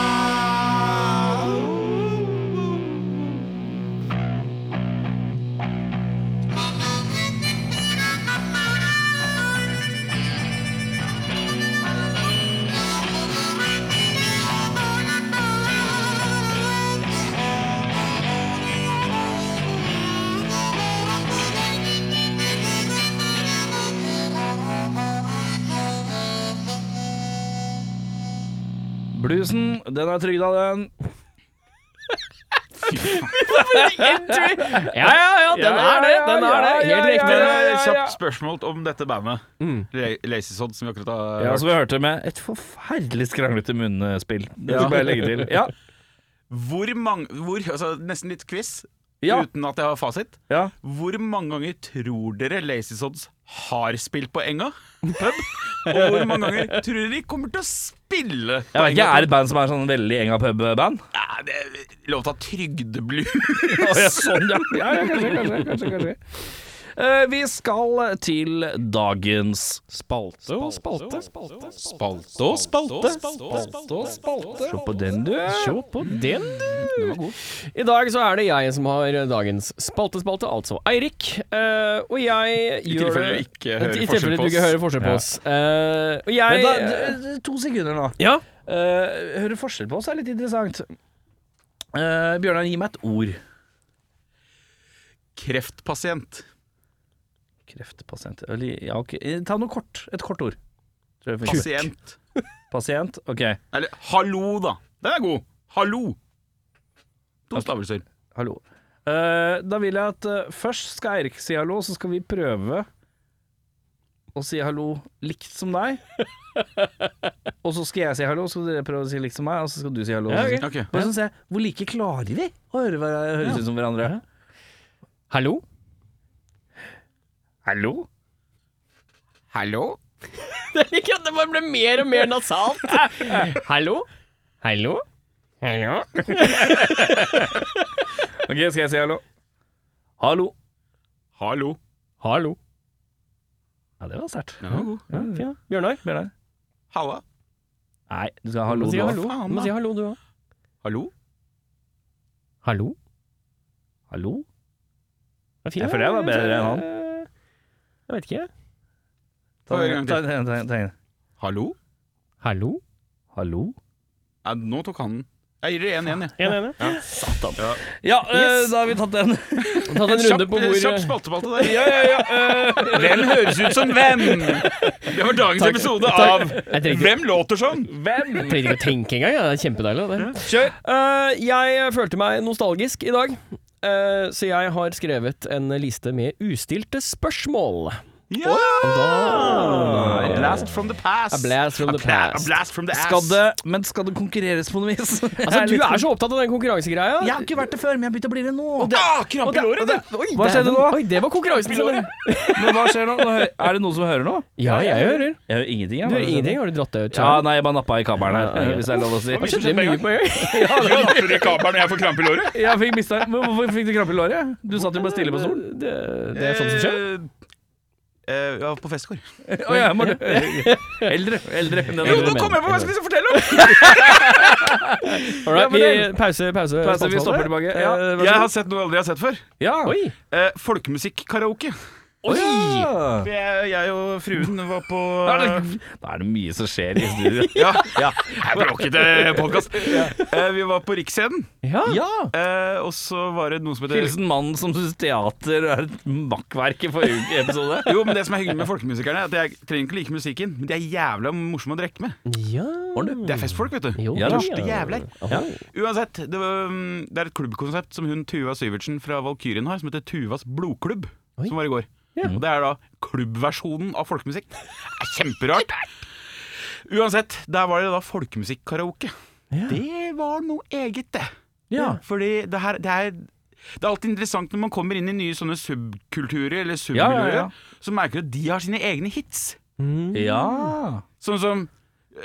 Speaker 1: Bluesen, den er trygda, den.
Speaker 3: Ja, ja, ja, den
Speaker 1: Ja,
Speaker 3: er det. Den
Speaker 1: ja,
Speaker 3: er det.
Speaker 1: ja,
Speaker 3: Helt
Speaker 1: ja,
Speaker 3: riktig.
Speaker 2: Men
Speaker 1: ja,
Speaker 2: eh,
Speaker 1: ja.
Speaker 2: kjapt spørsmål om dette bandet. Le- Lazy Sod, som vi akkurat har
Speaker 1: Mm. Ja, altså-
Speaker 2: hørt.
Speaker 1: Som vi hørte, med et forferdelig skranglete munnspill. Det
Speaker 2: Ja.
Speaker 1: skal jeg legge til. Ja,
Speaker 2: Hvor mange hvor, altså, Nesten litt quiz,
Speaker 1: ja,
Speaker 2: uten at jeg har fasit.
Speaker 1: ja.
Speaker 2: Hvor mange ganger tror dere Lazy Sods har spilt på Enga pub? Og hvor mange ganger tror dere de kommer til å spille på
Speaker 1: Jeg vet ikke,
Speaker 2: Enga
Speaker 1: Er det et band som er sånn veldig Enga pub-band?
Speaker 2: Nei, det er lov til å ta trygdeblue.
Speaker 1: Å, ja, sånn, ja. ja, ja kanskje, kanskje, kanskje, kanskje. Eh, vi skal til dagens spalte.
Speaker 3: spalte.
Speaker 2: Spalte og
Speaker 3: Spalte, spalte, spalte.
Speaker 1: Se på den, du.
Speaker 3: Se på den, du! I dag så er det jeg som har dagens spaltespalte, altså Eirik. Eh, og jeg
Speaker 2: I
Speaker 3: gjør
Speaker 2: tilfelle du ikke hører forskjell
Speaker 3: I tilfelle
Speaker 2: på
Speaker 3: du ikke hører
Speaker 2: oss.
Speaker 3: forskjell på
Speaker 1: Ja.
Speaker 3: oss. Eh, og
Speaker 1: Men
Speaker 3: jeg
Speaker 1: da, d- d- to sekunder nå.
Speaker 3: Ja?
Speaker 1: Eh, hører forskjell på oss er litt interessant. Eh, Bjørnar, gi meg et ord.
Speaker 2: Kreftpasient.
Speaker 1: Kreftpasient Eller, ja, ok. Eh, Ta noe kort. Et kort ord. Tror jeg funker.
Speaker 2: Pasient.
Speaker 1: Pasient. Ok.
Speaker 2: Eller hallo, da. Den er god. Hallo.
Speaker 1: Altså-
Speaker 2: To stavelser.
Speaker 1: Hallo. Eh, da vil jeg at eh, først skal Eirik si hallo, så skal vi prøve å si hallo likt som deg. og så skal jeg si hallo, så skal dere prøve å si likt som meg, og så skal du si hallo.
Speaker 3: Ja,
Speaker 1: og så
Speaker 3: ok.
Speaker 1: skal-
Speaker 2: Ok.
Speaker 1: Bare sånn se, Hvor like klarer vi å høre hver- høres ut som hverandre?
Speaker 3: Hallo?
Speaker 1: Hallo?
Speaker 2: Hallo?
Speaker 3: Det er ikke at det bare ble mer og mer nasalt. Hallo? Hallo? Hallo?
Speaker 1: Ok, skal jeg si hallo? Hallo.
Speaker 2: Hallo.
Speaker 3: Hallo.
Speaker 1: Ja, det var sterkt.
Speaker 2: Den var god.
Speaker 3: Ja, fin, da. Bjørnar?
Speaker 1: Bjørnar?
Speaker 2: Halla.
Speaker 1: Nei, du skal ha
Speaker 3: Du
Speaker 1: hallo,
Speaker 3: må si
Speaker 1: du òg.
Speaker 3: hallo.
Speaker 2: faen,
Speaker 3: Du må
Speaker 2: da.
Speaker 3: si hallo, du òg.
Speaker 2: Hallo?
Speaker 3: Hallo?
Speaker 1: Hallo?
Speaker 3: Det er fin,
Speaker 1: Jeg
Speaker 3: da.
Speaker 1: føler jeg var bedre enn han.
Speaker 3: Jeg vet ikke.
Speaker 1: Ta
Speaker 2: Få høre en gang
Speaker 1: ta- ta- ta- ta-
Speaker 2: Hallo?
Speaker 3: Hallo?
Speaker 1: Hallo?
Speaker 2: Nei, nå tok han den. Jeg gir dere én igjen, jeg.
Speaker 3: En ene.
Speaker 1: Ja,
Speaker 3: Yes.
Speaker 1: eh, da har vi tatt den.
Speaker 3: Tatt en runde på hvor eh,
Speaker 2: Kjapp spaltepalte der.
Speaker 1: ja, ja, ja. eh.
Speaker 2: Hvem høres ut som hvem? Det var dagens episode av
Speaker 3: Jeg trenger
Speaker 2: Hvem låter som?
Speaker 1: Hvem?
Speaker 3: trengte ikke å tenke engang. ja. Det er kjempedeilig. Det.
Speaker 1: Kjør!
Speaker 3: Eh, jeg følte meg nostalgisk i dag, eh, så jeg har skrevet en liste med ustilte spørsmål.
Speaker 2: Ja!
Speaker 1: Ah.
Speaker 3: Da-
Speaker 2: A blast from the past.
Speaker 3: A blast from
Speaker 2: A
Speaker 3: the
Speaker 2: pla-
Speaker 3: past.
Speaker 2: A blast from the ass.
Speaker 1: Skal det, men skal det konkurreres på noe vis?
Speaker 3: Altså, du er så opptatt av den konkurransegreia.
Speaker 1: Jeg har ikke vært det før, men jeg begynte å bli det nå.
Speaker 2: ah, Krampe i låret, det!
Speaker 3: Oi,
Speaker 1: Hva skjedde
Speaker 3: dæven.
Speaker 1: nå?
Speaker 3: Oi, det var konkurransen. sin.
Speaker 1: Men hva skjer nå? Nå hø- Er det noen som hører nå?
Speaker 3: Ja, jeg hører.
Speaker 1: Jeg hører ingenting. jeg.
Speaker 3: Du hører ingenting? Har du dratt deg ut?
Speaker 1: Ja, nei, jeg bare nappa i kabelen her,
Speaker 3: ja.
Speaker 1: hvis det er lov å si.
Speaker 2: Hva
Speaker 3: Skjønner du mye på en gang?
Speaker 2: Jeg napper i kabelen når jeg får krampe i låret.
Speaker 1: Jeg fikk mista Men Hvorfor fikk du krampe i låret? Du satt jo bare stille på stolen.
Speaker 3: Det, det er sånt som skjer.
Speaker 2: Eh, jeg var på festkår.
Speaker 1: Å ja, må du Eldre. Eldre. enn den
Speaker 2: Jo,
Speaker 1: eldre.
Speaker 2: nå kommer jeg på hva jeg skulle fortelle om!
Speaker 3: All right,
Speaker 1: men
Speaker 3: vi,
Speaker 1: det-
Speaker 3: pause,
Speaker 1: Pause,
Speaker 3: pause.
Speaker 1: vi
Speaker 3: samtale.
Speaker 1: stopper tilbake. Ja.
Speaker 3: Eh, vær
Speaker 2: Jeg
Speaker 3: så
Speaker 2: har
Speaker 3: god.
Speaker 2: sett noe jeg aldri har sett før.
Speaker 1: Ja.
Speaker 3: Oi!
Speaker 2: Eh, Folkemusikk-karaoke.
Speaker 1: Oi!
Speaker 2: Jeg, jeg og fruen var på
Speaker 1: Da er det- da er det mye som skjer i studio.
Speaker 2: Ja, ja. Jeg bråkete podkast. Eh, vi var på Riksscenen,
Speaker 3: Ja.
Speaker 1: Ja!
Speaker 2: eh, og så var det noe som heter
Speaker 1: Hilsen mannen som syns teater er et makkverk i forrige episode.
Speaker 2: Jo, men det som er hyggelig med folkemusikerne, er at jeg trenger ikke like musikken, men de er jævla morsomme å drikke med.
Speaker 3: ja.
Speaker 2: Det er festfolk, vet du.
Speaker 3: Jo,
Speaker 1: Ja da.
Speaker 2: Første jævler.
Speaker 3: Ja.
Speaker 2: Uansett, det, var, um, det er et klubbkonsept som hun Tuva Syvertsen fra Valkyrien har, som heter Tuvas blodklubb,
Speaker 3: Oi.
Speaker 2: som var i går.
Speaker 3: Ja.
Speaker 2: Og det er da klubbversjonen av folkemusikk. Det er kjemperart. Uansett, der var det da folkemusikk-karaoke.
Speaker 3: Ja.
Speaker 2: Det var noe eget, det.
Speaker 1: Ja.
Speaker 2: Fordi det her det er, det er alltid interessant når man kommer inn i nye sånne subkulturer, eller
Speaker 1: Ja, ja,
Speaker 2: submiljøer,
Speaker 1: ja.
Speaker 2: så merker du at de har sine egne hits.
Speaker 1: Ja.
Speaker 2: Sånn som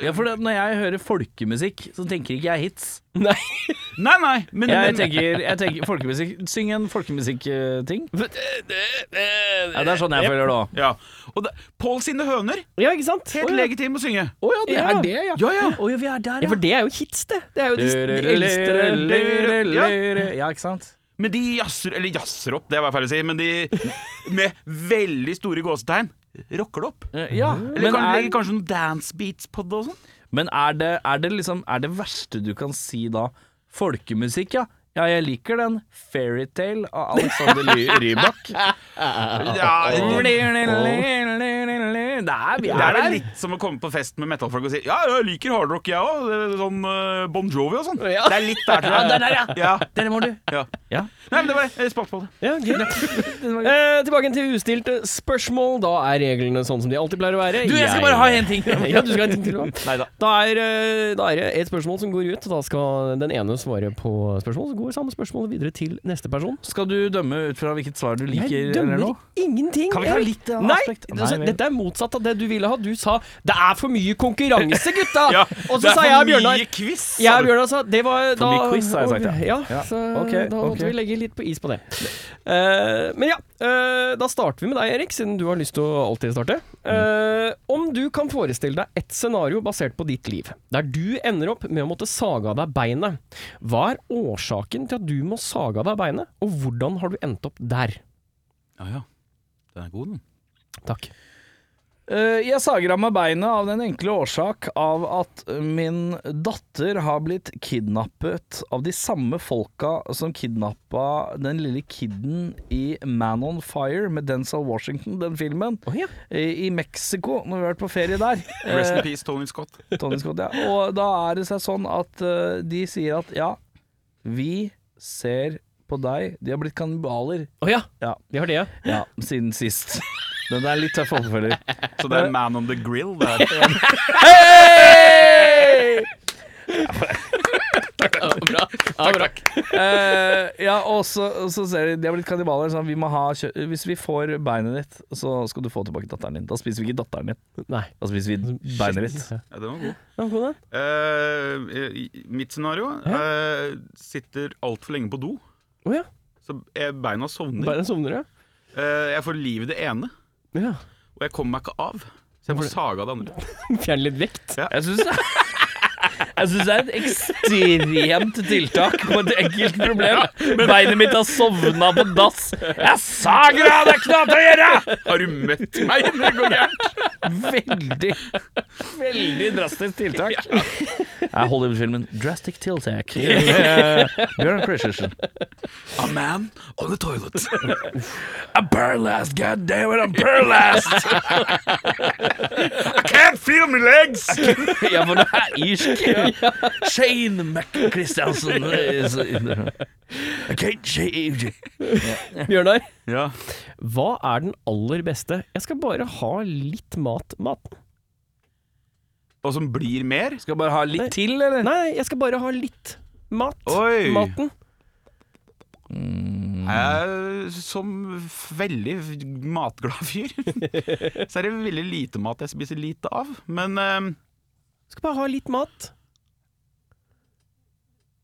Speaker 1: ja, for det, når jeg hører folkemusikk, så tenker ikke jeg hits.
Speaker 3: Nei.
Speaker 2: Nei, nei, men,
Speaker 1: Jeg
Speaker 2: men
Speaker 1: tenker, jeg tenker folkemusikk Syng en folkemusikk-ting. Ja,
Speaker 3: Ja,
Speaker 1: det er sånn jeg føler det òg.
Speaker 2: ja. Og det, Pål sine høner,
Speaker 3: Ja, ikke sant?
Speaker 2: helt legitim å synge.
Speaker 1: Å ja,
Speaker 3: Det er det, ja.
Speaker 2: Ja, ja.
Speaker 1: Å ja, vi er der,
Speaker 3: Ja, for det er jo hits, det. Det er jo de, de eldste
Speaker 1: ja. Ja, ikke sant?
Speaker 2: Men de jazzer Eller jazzer opp, det var feil å si, men de med veldig store gåsetegn rocker det opp.
Speaker 1: Eh, Ja,
Speaker 2: Eller
Speaker 1: men
Speaker 2: kan,
Speaker 1: er,
Speaker 2: legger kanskje noen dancebeats på det og sånn.
Speaker 1: men er, det, er det liksom Er det verste du kan si da folkemusikk, ja? Ja, jeg liker den. Fairytale av Alexander Ly Rybak.
Speaker 2: Ja, det,
Speaker 1: Der, vi
Speaker 2: det
Speaker 1: er
Speaker 2: er vel
Speaker 1: der.
Speaker 2: litt som å komme på fest med metalfolk og si Ja, jeg liker hardrock, jeg òg. Sånn eh, Bon Jovi og sånn.
Speaker 3: Ja.
Speaker 2: Det er litt der,
Speaker 1: Ja, der,
Speaker 2: tror jeg.
Speaker 1: der, ja.
Speaker 2: Ja,
Speaker 1: Der må du.
Speaker 2: ja.
Speaker 1: Ja.
Speaker 2: Nei, men det var eh, spalt på det.
Speaker 3: Ja, greit. eh, tilbake til ustilte spørsmål. Da er reglene sånn som de alltid pleier å være.
Speaker 1: Du, jeg skal bare ha en ting.
Speaker 3: ja, du skal ha en ting til også. Da er, eh, da er det et spørsmål som går ut. Da skal den ene svare på spørsmål, så går samme spørsmål videre til neste person.
Speaker 1: Skal du dømme ut fra hvilket svar du liker
Speaker 3: Jeg
Speaker 1: eller
Speaker 3: dømmer
Speaker 1: noe?
Speaker 3: ingenting.
Speaker 1: Kan vi ta
Speaker 3: Erik.
Speaker 1: litt, eh,
Speaker 3: Nei,
Speaker 1: aspekt?
Speaker 3: altså,
Speaker 1: Nei, vel.
Speaker 3: dette er motsatt av det du ville ha. Du sa 'det er for mye konkurranse, gutta'.
Speaker 2: Ja,
Speaker 3: og
Speaker 2: det
Speaker 3: så
Speaker 2: er
Speaker 3: sa
Speaker 2: for
Speaker 3: jeg og Bjørnar
Speaker 2: mye quiz.
Speaker 3: Jeg
Speaker 2: sa
Speaker 3: og
Speaker 2: du.
Speaker 3: Bjørnar sa altså, det var da,
Speaker 1: mye quiz, har jeg sagt, ja.
Speaker 3: Ja,
Speaker 1: Ja,
Speaker 3: så
Speaker 1: ok,
Speaker 3: da
Speaker 1: ok.
Speaker 3: måtte vi legge litt på is på det. Eh, men ja, eh, da starter vi med deg, Erik, siden du har lyst til å alltid starte. Eh, om du kan forestille deg ett scenario basert på ditt liv, der du ender opp med å måtte sage av deg beinet. Hva er årsaken til at du må sage av deg beinet, og hvordan har du endt opp der?
Speaker 2: Ja, ja. Den er god, den.
Speaker 3: Takk.
Speaker 1: Eh, Jeg sager av meg beinet av den enkle årsak av at min datter har blitt kidnappet av de samme folka som kidnappa den lille kiden i Man on Fire med Denzil Washington, den filmen.
Speaker 3: Å, ja.
Speaker 1: I i Mexico, når vi har vært på ferie der.
Speaker 2: Rest in
Speaker 1: Eh,
Speaker 2: peace, Tony Scott.
Speaker 1: Tony Scott, ja. Og da er det seg sånn at eh, de sier at ja, vi ser på deg. De har blitt kannibaler
Speaker 3: Å ja.
Speaker 1: Ja.
Speaker 3: Vi har det, ja.
Speaker 1: ja, siden sist. Den er litt tøff overfølger.
Speaker 2: Så det
Speaker 1: Eh.
Speaker 2: er Man on the Grill. Det er.
Speaker 3: Ja, bra. Ja, bra.
Speaker 1: Eh, ja, og så, og så ser de De har blitt kannibaler. Sånn, vi må ha kjø Hvis vi får beinet ditt, så skal du få tilbake datteren din. Da spiser vi ikke datteren din,
Speaker 3: Nei.
Speaker 1: da spiser vi beinet ditt.
Speaker 3: Ja,
Speaker 2: Ja, den var god.
Speaker 3: god den.
Speaker 2: Eh, i- i- mitt scenario eh, sitter altfor lenge på do.
Speaker 3: Å ja.
Speaker 2: Så jeg- beina sovner.
Speaker 3: Bare sovner, ja.
Speaker 2: Eh, jeg får liv i det ene,
Speaker 3: ja.
Speaker 2: og jeg kommer meg ikke av. Så jeg får saga det andre.
Speaker 3: Fjerne litt vekt.
Speaker 1: Jeg syns det jeg synes det er et ekstremt tiltak på et enkelt problem. Beinet mitt har sovna på dass. Jeg sager av deg, knapt å gjøre!
Speaker 2: Har du møtt meg? Det går gærent.
Speaker 1: Veldig Veldig drastisk tiltak. Er Hollywood-filmen 'Drastic Tiltak'. Eh, Bjørn Christensen.
Speaker 2: A man on the toilet.
Speaker 1: I'm paralyzed, god damn it, I'm paralyzed!
Speaker 2: I can't feel my legs!
Speaker 1: ja, for det er irsk. Shane McChristiansen is in there. I can't shave you.
Speaker 3: Bjørnar,
Speaker 2: Ja.
Speaker 3: hva er den aller beste? Jeg skal bare ha litt mat. Maten.
Speaker 2: Og som blir mer?
Speaker 1: Skal bare ha litt til, eller?
Speaker 3: Nei, jeg skal bare ha litt mat.
Speaker 2: Oi.
Speaker 3: Maten.
Speaker 2: Jeg er som f- veldig matglad fyr. Så er det veldig lite mat jeg spiser lite av. Men eh,
Speaker 3: Skal bare ha litt mat.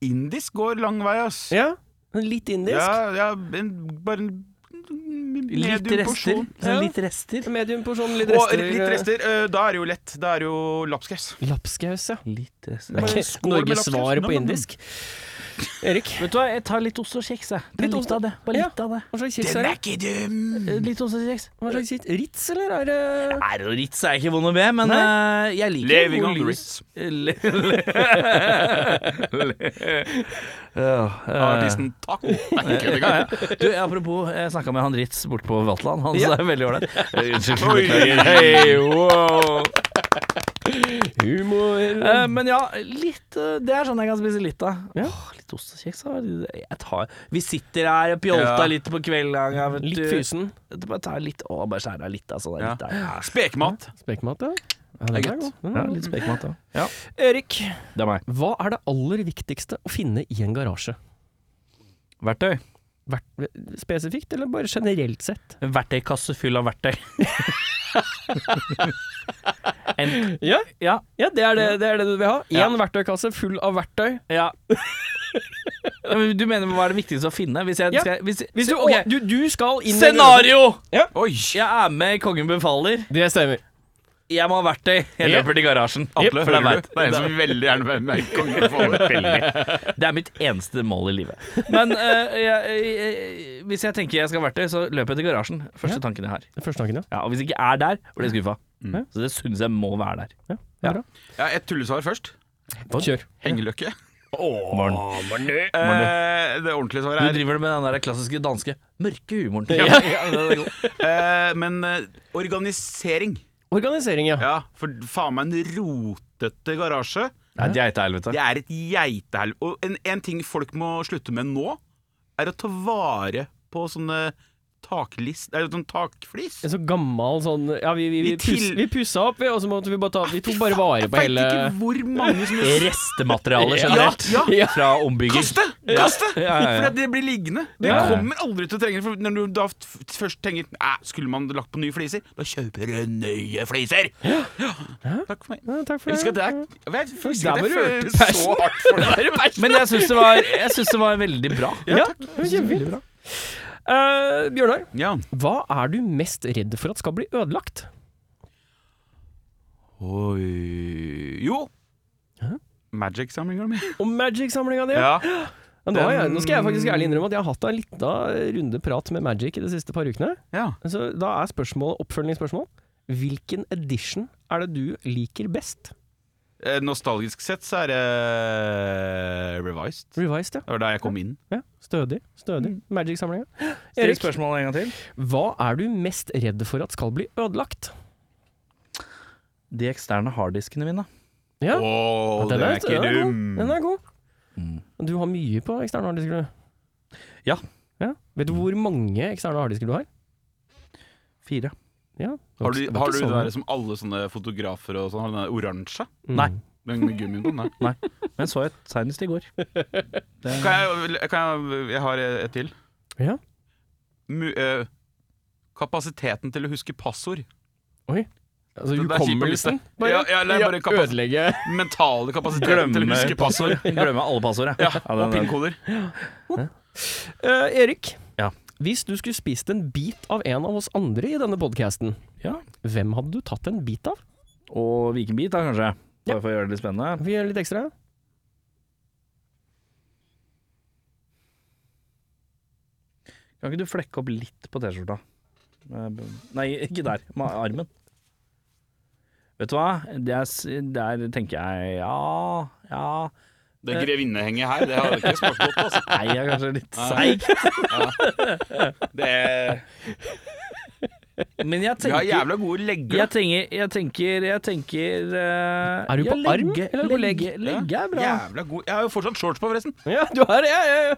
Speaker 2: indisk går lang vei, ass.
Speaker 3: Ja. Litt indisk.
Speaker 2: Ja, ja en, bare en medium
Speaker 1: Litt rester.
Speaker 2: porsjon.
Speaker 1: Sånn Litt rester.
Speaker 3: Medium porsjon, litt
Speaker 2: Og
Speaker 3: rester.
Speaker 2: litt rester, eh, da er det jo lett. Da er det jo lapskaus.
Speaker 3: Lapskaus, ja.
Speaker 1: Litt rester.
Speaker 2: Bare
Speaker 3: Ok,
Speaker 2: skål med
Speaker 3: Norges
Speaker 2: lapskaus.
Speaker 3: svar
Speaker 2: Nam, nam,
Speaker 3: på
Speaker 2: nam.
Speaker 3: indisk. Erik,
Speaker 1: Vet du hva, jeg tar litt ost og kjeks, jeg. Ta
Speaker 3: Litt ost-
Speaker 1: av det. Bare
Speaker 3: Ja.
Speaker 1: av det.
Speaker 3: hva slags kjeks er det?
Speaker 2: ikke dum!
Speaker 1: Eh, Litt ost og kjeks.
Speaker 3: Hva slags kjeks? Ritz, eller er det
Speaker 1: Er det Ritz er jeg ikke vond å be, men eh, jeg liker
Speaker 2: Living
Speaker 1: hvor
Speaker 2: on
Speaker 1: lys-
Speaker 2: Ritz.
Speaker 1: Le- Ja, eh,
Speaker 2: Artisten Taco. Nei, ikke engang.
Speaker 1: Du, apropos, jeg snakka med han Ritz borte på Vatland. Han
Speaker 3: Ja.
Speaker 1: sa er veldig ålreit. Eh, Unnskyld.
Speaker 2: Oi.
Speaker 1: beklager. Hei, wow.
Speaker 3: humor?
Speaker 1: Eh, Men ja, litt eh, Det er sånn jeg kan spise litt av.
Speaker 3: Ja.
Speaker 1: Åh, litt ost og kjeks. da. Jeg tar Vi sitter her og pjolta
Speaker 2: Ja.
Speaker 1: litt på kvelden. ja, vet
Speaker 3: Litt
Speaker 1: du.
Speaker 3: fysen.
Speaker 1: Du Bare ta litt og bare skjære av litt av sånn.
Speaker 2: Ja.
Speaker 1: Litt, av.
Speaker 2: Spekmat.
Speaker 3: Spekmat, ja. ja den
Speaker 2: Det er
Speaker 3: er
Speaker 2: godt.
Speaker 3: god. Den
Speaker 1: ja,
Speaker 3: er god.
Speaker 1: litt spekmat, ja.
Speaker 3: Erik,
Speaker 1: Det er meg.
Speaker 3: hva er det aller viktigste å finne i en garasje?
Speaker 1: Verktøy.
Speaker 3: Hvert, spesifikt, eller bare generelt sett?
Speaker 1: En verktøykasse full av verktøy. en,
Speaker 3: Ja,
Speaker 1: ja,
Speaker 3: det, er det, det er det du vil ha. Én
Speaker 1: Ja.
Speaker 3: verktøykasse full av verktøy.
Speaker 1: ja. Ja, men Du mener hva er det viktigste å finne? Hvis jeg
Speaker 3: Ja.
Speaker 1: skal, hvis,
Speaker 3: Hvis du,
Speaker 1: ok.
Speaker 3: du, du skal inn i en
Speaker 1: Scenario!
Speaker 2: Oi!
Speaker 1: Jeg er med i Kongen befaler.
Speaker 3: garasje. Det stemmer.
Speaker 1: Jeg må ha verktøy. Jeg
Speaker 3: Ja.
Speaker 1: løper til garasjen.
Speaker 2: Atle,
Speaker 1: for det,
Speaker 2: hører
Speaker 1: er
Speaker 2: du? Det er en som veldig gjerne vil være konge på det.
Speaker 1: verdt- det er mitt eneste mål i livet. Men eh, jeg, jeg- hvis jeg tenker jeg skal ha verktøy, så løper jeg til garasjen. Første tanken jeg har.
Speaker 3: Første tanken, ja.
Speaker 1: Ja, og hvis jeg ikke er der, blir jeg skuffa. Så det syns jeg må være der.
Speaker 3: ja. det er Bra.
Speaker 2: Ja, et tullesvar først.
Speaker 3: Kjør.
Speaker 2: Hengeløkke.
Speaker 1: Morn.
Speaker 2: Eh, det ordentlige
Speaker 1: Du
Speaker 2: svaret er
Speaker 1: driver med den der klassiske danske mørke humoren.
Speaker 3: Ja.
Speaker 2: eh, Men eh, organisering.
Speaker 3: Organisering, ja.
Speaker 2: Ja, for faen meg en rotete garasje.
Speaker 1: Nei, det er et helvete.
Speaker 2: Det er et geitehelvete. Og en, en ting folk må slutte med nå, er å ta vare på sånne taklist... Eller sånn takflis.
Speaker 3: En så gammel sånn Ja, vi, vi, vi,
Speaker 2: Vi til-
Speaker 3: pus, vi pussa opp, vi, og så måtte vi bare ta Vi tok bare vare på
Speaker 2: Veit
Speaker 3: hele
Speaker 2: ikke hvor mange som
Speaker 1: Restemateriale
Speaker 3: Ja.
Speaker 1: generelt
Speaker 2: Ja,
Speaker 3: ja.
Speaker 1: fra ombygger.
Speaker 2: Kaste! Kaste!
Speaker 1: Ja, ja, ja.
Speaker 2: For det blir liggende. Det
Speaker 1: Ja, ja.
Speaker 2: kommer aldri til å trenge det. For når du da f- først tenker "Æ, Skulle man lagt på nye fliser? Da kjøper du nye fliser! Ja. Takk for meg.
Speaker 3: Ja, Takk for
Speaker 2: Jeg
Speaker 3: det.
Speaker 2: husker at det er Jeg husker at
Speaker 3: Der var
Speaker 2: jeg
Speaker 3: du
Speaker 2: følte
Speaker 3: hørte
Speaker 2: så hardt for det.
Speaker 1: Men jeg syns det, var- jeg syns det var veldig bra.
Speaker 3: Ja, det var kjempefint. Eh, Bjørnar,
Speaker 2: Ja.
Speaker 3: hva er du mest redd for at skal bli ødelagt?
Speaker 2: Oi Jo.
Speaker 3: Hæ?
Speaker 2: Magic-samlinga mi.
Speaker 3: Og Magic-samlinga di?
Speaker 2: Ja.
Speaker 3: Ja, nå, har jeg, nå skal jeg faktisk ærlig innrømme at jeg har hatt en eh, liten runde prat med Magic i de siste par ukene.
Speaker 2: ja.
Speaker 3: Så da er spørsmålet oppfølgingsspørsmål. Hvilken edition er det du liker best?
Speaker 2: Eh, Nostalgisk sett så er det eh, revised.
Speaker 3: Revised, ja.
Speaker 2: Det var da jeg kom inn.
Speaker 3: ja. Stødig. stødig. Magic-samlinga.
Speaker 1: Still
Speaker 3: Erik,
Speaker 1: spørsmålet en gang til.
Speaker 3: hva er du mest redd for at skal bli ødelagt?
Speaker 1: De eksterne harddiskene mine.
Speaker 3: Ja,
Speaker 2: Åh,
Speaker 3: den
Speaker 2: den er ikke
Speaker 3: den god. Den
Speaker 2: dum! Mm.
Speaker 3: er god. Du har mye på eksterne harddisker, du.
Speaker 1: Ja.
Speaker 3: Ja. Vet du hvor mange eksterne harddisker du har?
Speaker 1: Fire.
Speaker 3: Ja.
Speaker 2: Har du,
Speaker 3: Det var
Speaker 2: har du
Speaker 3: ikke
Speaker 2: den
Speaker 3: sånn. så
Speaker 2: der som alle sånne fotografer og sånn, har den der oransje?
Speaker 1: Nei.
Speaker 3: mange. Mm.
Speaker 2: Den gummien på den der.
Speaker 1: Nei. Men så et senest i går.
Speaker 2: Kan jeg, kan jeg, jeg har et til.
Speaker 3: Ja.
Speaker 2: Mu, eh, kapasiteten til å huske passord.
Speaker 3: Altså,
Speaker 2: Det- det er kjipt å miste.
Speaker 3: hukommelsen? Bare,
Speaker 2: Ja, ja, nei, bare kapas-
Speaker 3: ødelegge
Speaker 2: Mentale kapasiteten til å
Speaker 1: Glemme
Speaker 2: huske passord.
Speaker 1: passord. Glemme alle passord,
Speaker 2: Ja,
Speaker 1: den-
Speaker 2: og pinnkoder.
Speaker 3: Eh, Erik,
Speaker 1: Ja.
Speaker 3: hvis du skulle spist en bit av en av oss andre i denne podcasten,
Speaker 1: ja.
Speaker 3: hvem hadde du tatt en bit av?
Speaker 1: Og Vikenbit, da, kanskje.
Speaker 3: Ja.
Speaker 1: Bare for å gjøre det litt spennende.
Speaker 3: Vi gjør litt ekstra.
Speaker 1: Eh, Kan ikke du flekke opp litt på T-skjorta? Eh, b- Nei, ikke der. Med armen. Vet du hva? Det er, s- der tenker jeg ja, ja
Speaker 2: Det grevinnehenget her, det har jeg ikke spart godt, altså.
Speaker 1: Nei, jeg er kanskje litt
Speaker 2: Nei.
Speaker 1: seig.
Speaker 2: Det er,
Speaker 1: Men jeg
Speaker 2: vi har
Speaker 1: tenker
Speaker 2: jævla gode legger.
Speaker 1: jeg tenker, jeg tenker, jeg tenker eh,
Speaker 3: Er du
Speaker 1: ja,
Speaker 3: på arm,
Speaker 1: legge-
Speaker 3: eller er du på legg?
Speaker 1: legge- Legge er bra.
Speaker 2: Jævla god Jeg har jo fortsatt shorts på, forresten.
Speaker 3: Ja, du har det! Ja, ja, ja.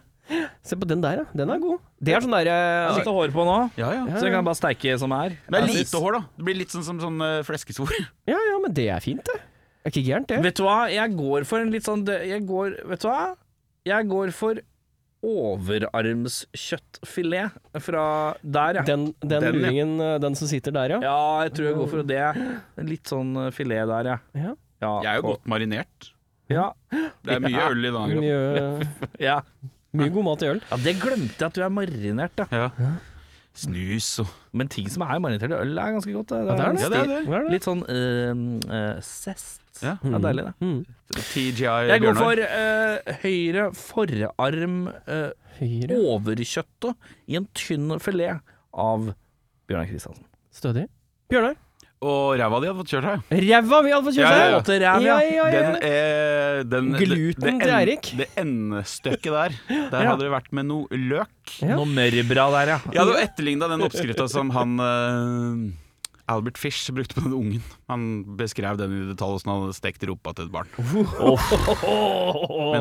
Speaker 3: Se på den der, ja. Den er god. Det er sånn der
Speaker 1: Jeg har
Speaker 3: eh,
Speaker 1: Litt hår på nå,
Speaker 2: Ja, ja.
Speaker 1: så jeg kan bare steike som er.
Speaker 2: Det er
Speaker 1: Jeg
Speaker 2: lite
Speaker 1: synes-
Speaker 2: hår, da. Det blir litt sånn som sånn eh, fleskesvor.
Speaker 3: Ja, ja, men det er fint, det. Er ikke gærent, det.
Speaker 1: Vet du hva, jeg går for en litt sånn dø- Jeg går, vet du hva? Jeg går for overarmskjøttfilet fra der, ja.
Speaker 3: Den, den,
Speaker 2: Den, ja.
Speaker 3: luringen, eh, den som sitter der, ja.
Speaker 1: Ja, jeg tror jeg går for det. En Litt sånn eh, filet der, ja.
Speaker 3: Ja.
Speaker 1: ja
Speaker 2: Jeg er jo godt marinert.
Speaker 1: Ja,
Speaker 2: Det er mye øl i dag. da.
Speaker 3: Mye,
Speaker 1: ja.
Speaker 3: mye god mat i øl.
Speaker 1: ja, det glemte jeg at du er marinert, da.
Speaker 2: Ja. Snus og
Speaker 1: Men ting som er marinert i øl, er ganske godt. Det,
Speaker 3: Ja, det er
Speaker 2: Ja, det er det.
Speaker 3: Hva er det?
Speaker 1: Litt sånn eh, eh, zest.
Speaker 2: Ja.
Speaker 1: Det er deilig, det.
Speaker 2: TGI
Speaker 1: Jeg går
Speaker 2: Bjørnar.
Speaker 1: for eh, høyre forarm eh,
Speaker 3: Høyre.
Speaker 1: overkjøttet i en tynn filet av Bjørnar Kristiansen.
Speaker 3: Stødig. Bjørnar.
Speaker 2: Og ræva di hadde fått kjørt her.
Speaker 3: Ræva mi hadde fått kjørt
Speaker 2: Ja, ja,
Speaker 3: seg!
Speaker 2: ja.
Speaker 1: Åte ræv, ja.
Speaker 2: Den, eh, den,
Speaker 3: Gluten
Speaker 2: det- det
Speaker 3: til
Speaker 2: en-
Speaker 3: Eirik.
Speaker 2: Det endestykket der. Der
Speaker 3: Ja.
Speaker 2: hadde det vært med noe løk.
Speaker 3: Ja.
Speaker 1: Noe mørbrad der, ja.
Speaker 2: Jeg hadde jo etterligna den oppskrifta som han eh, Albert Fish brukte på den ungen. Han beskrev den i detalj, hvordan han hadde stekt rumpa til et barn. Med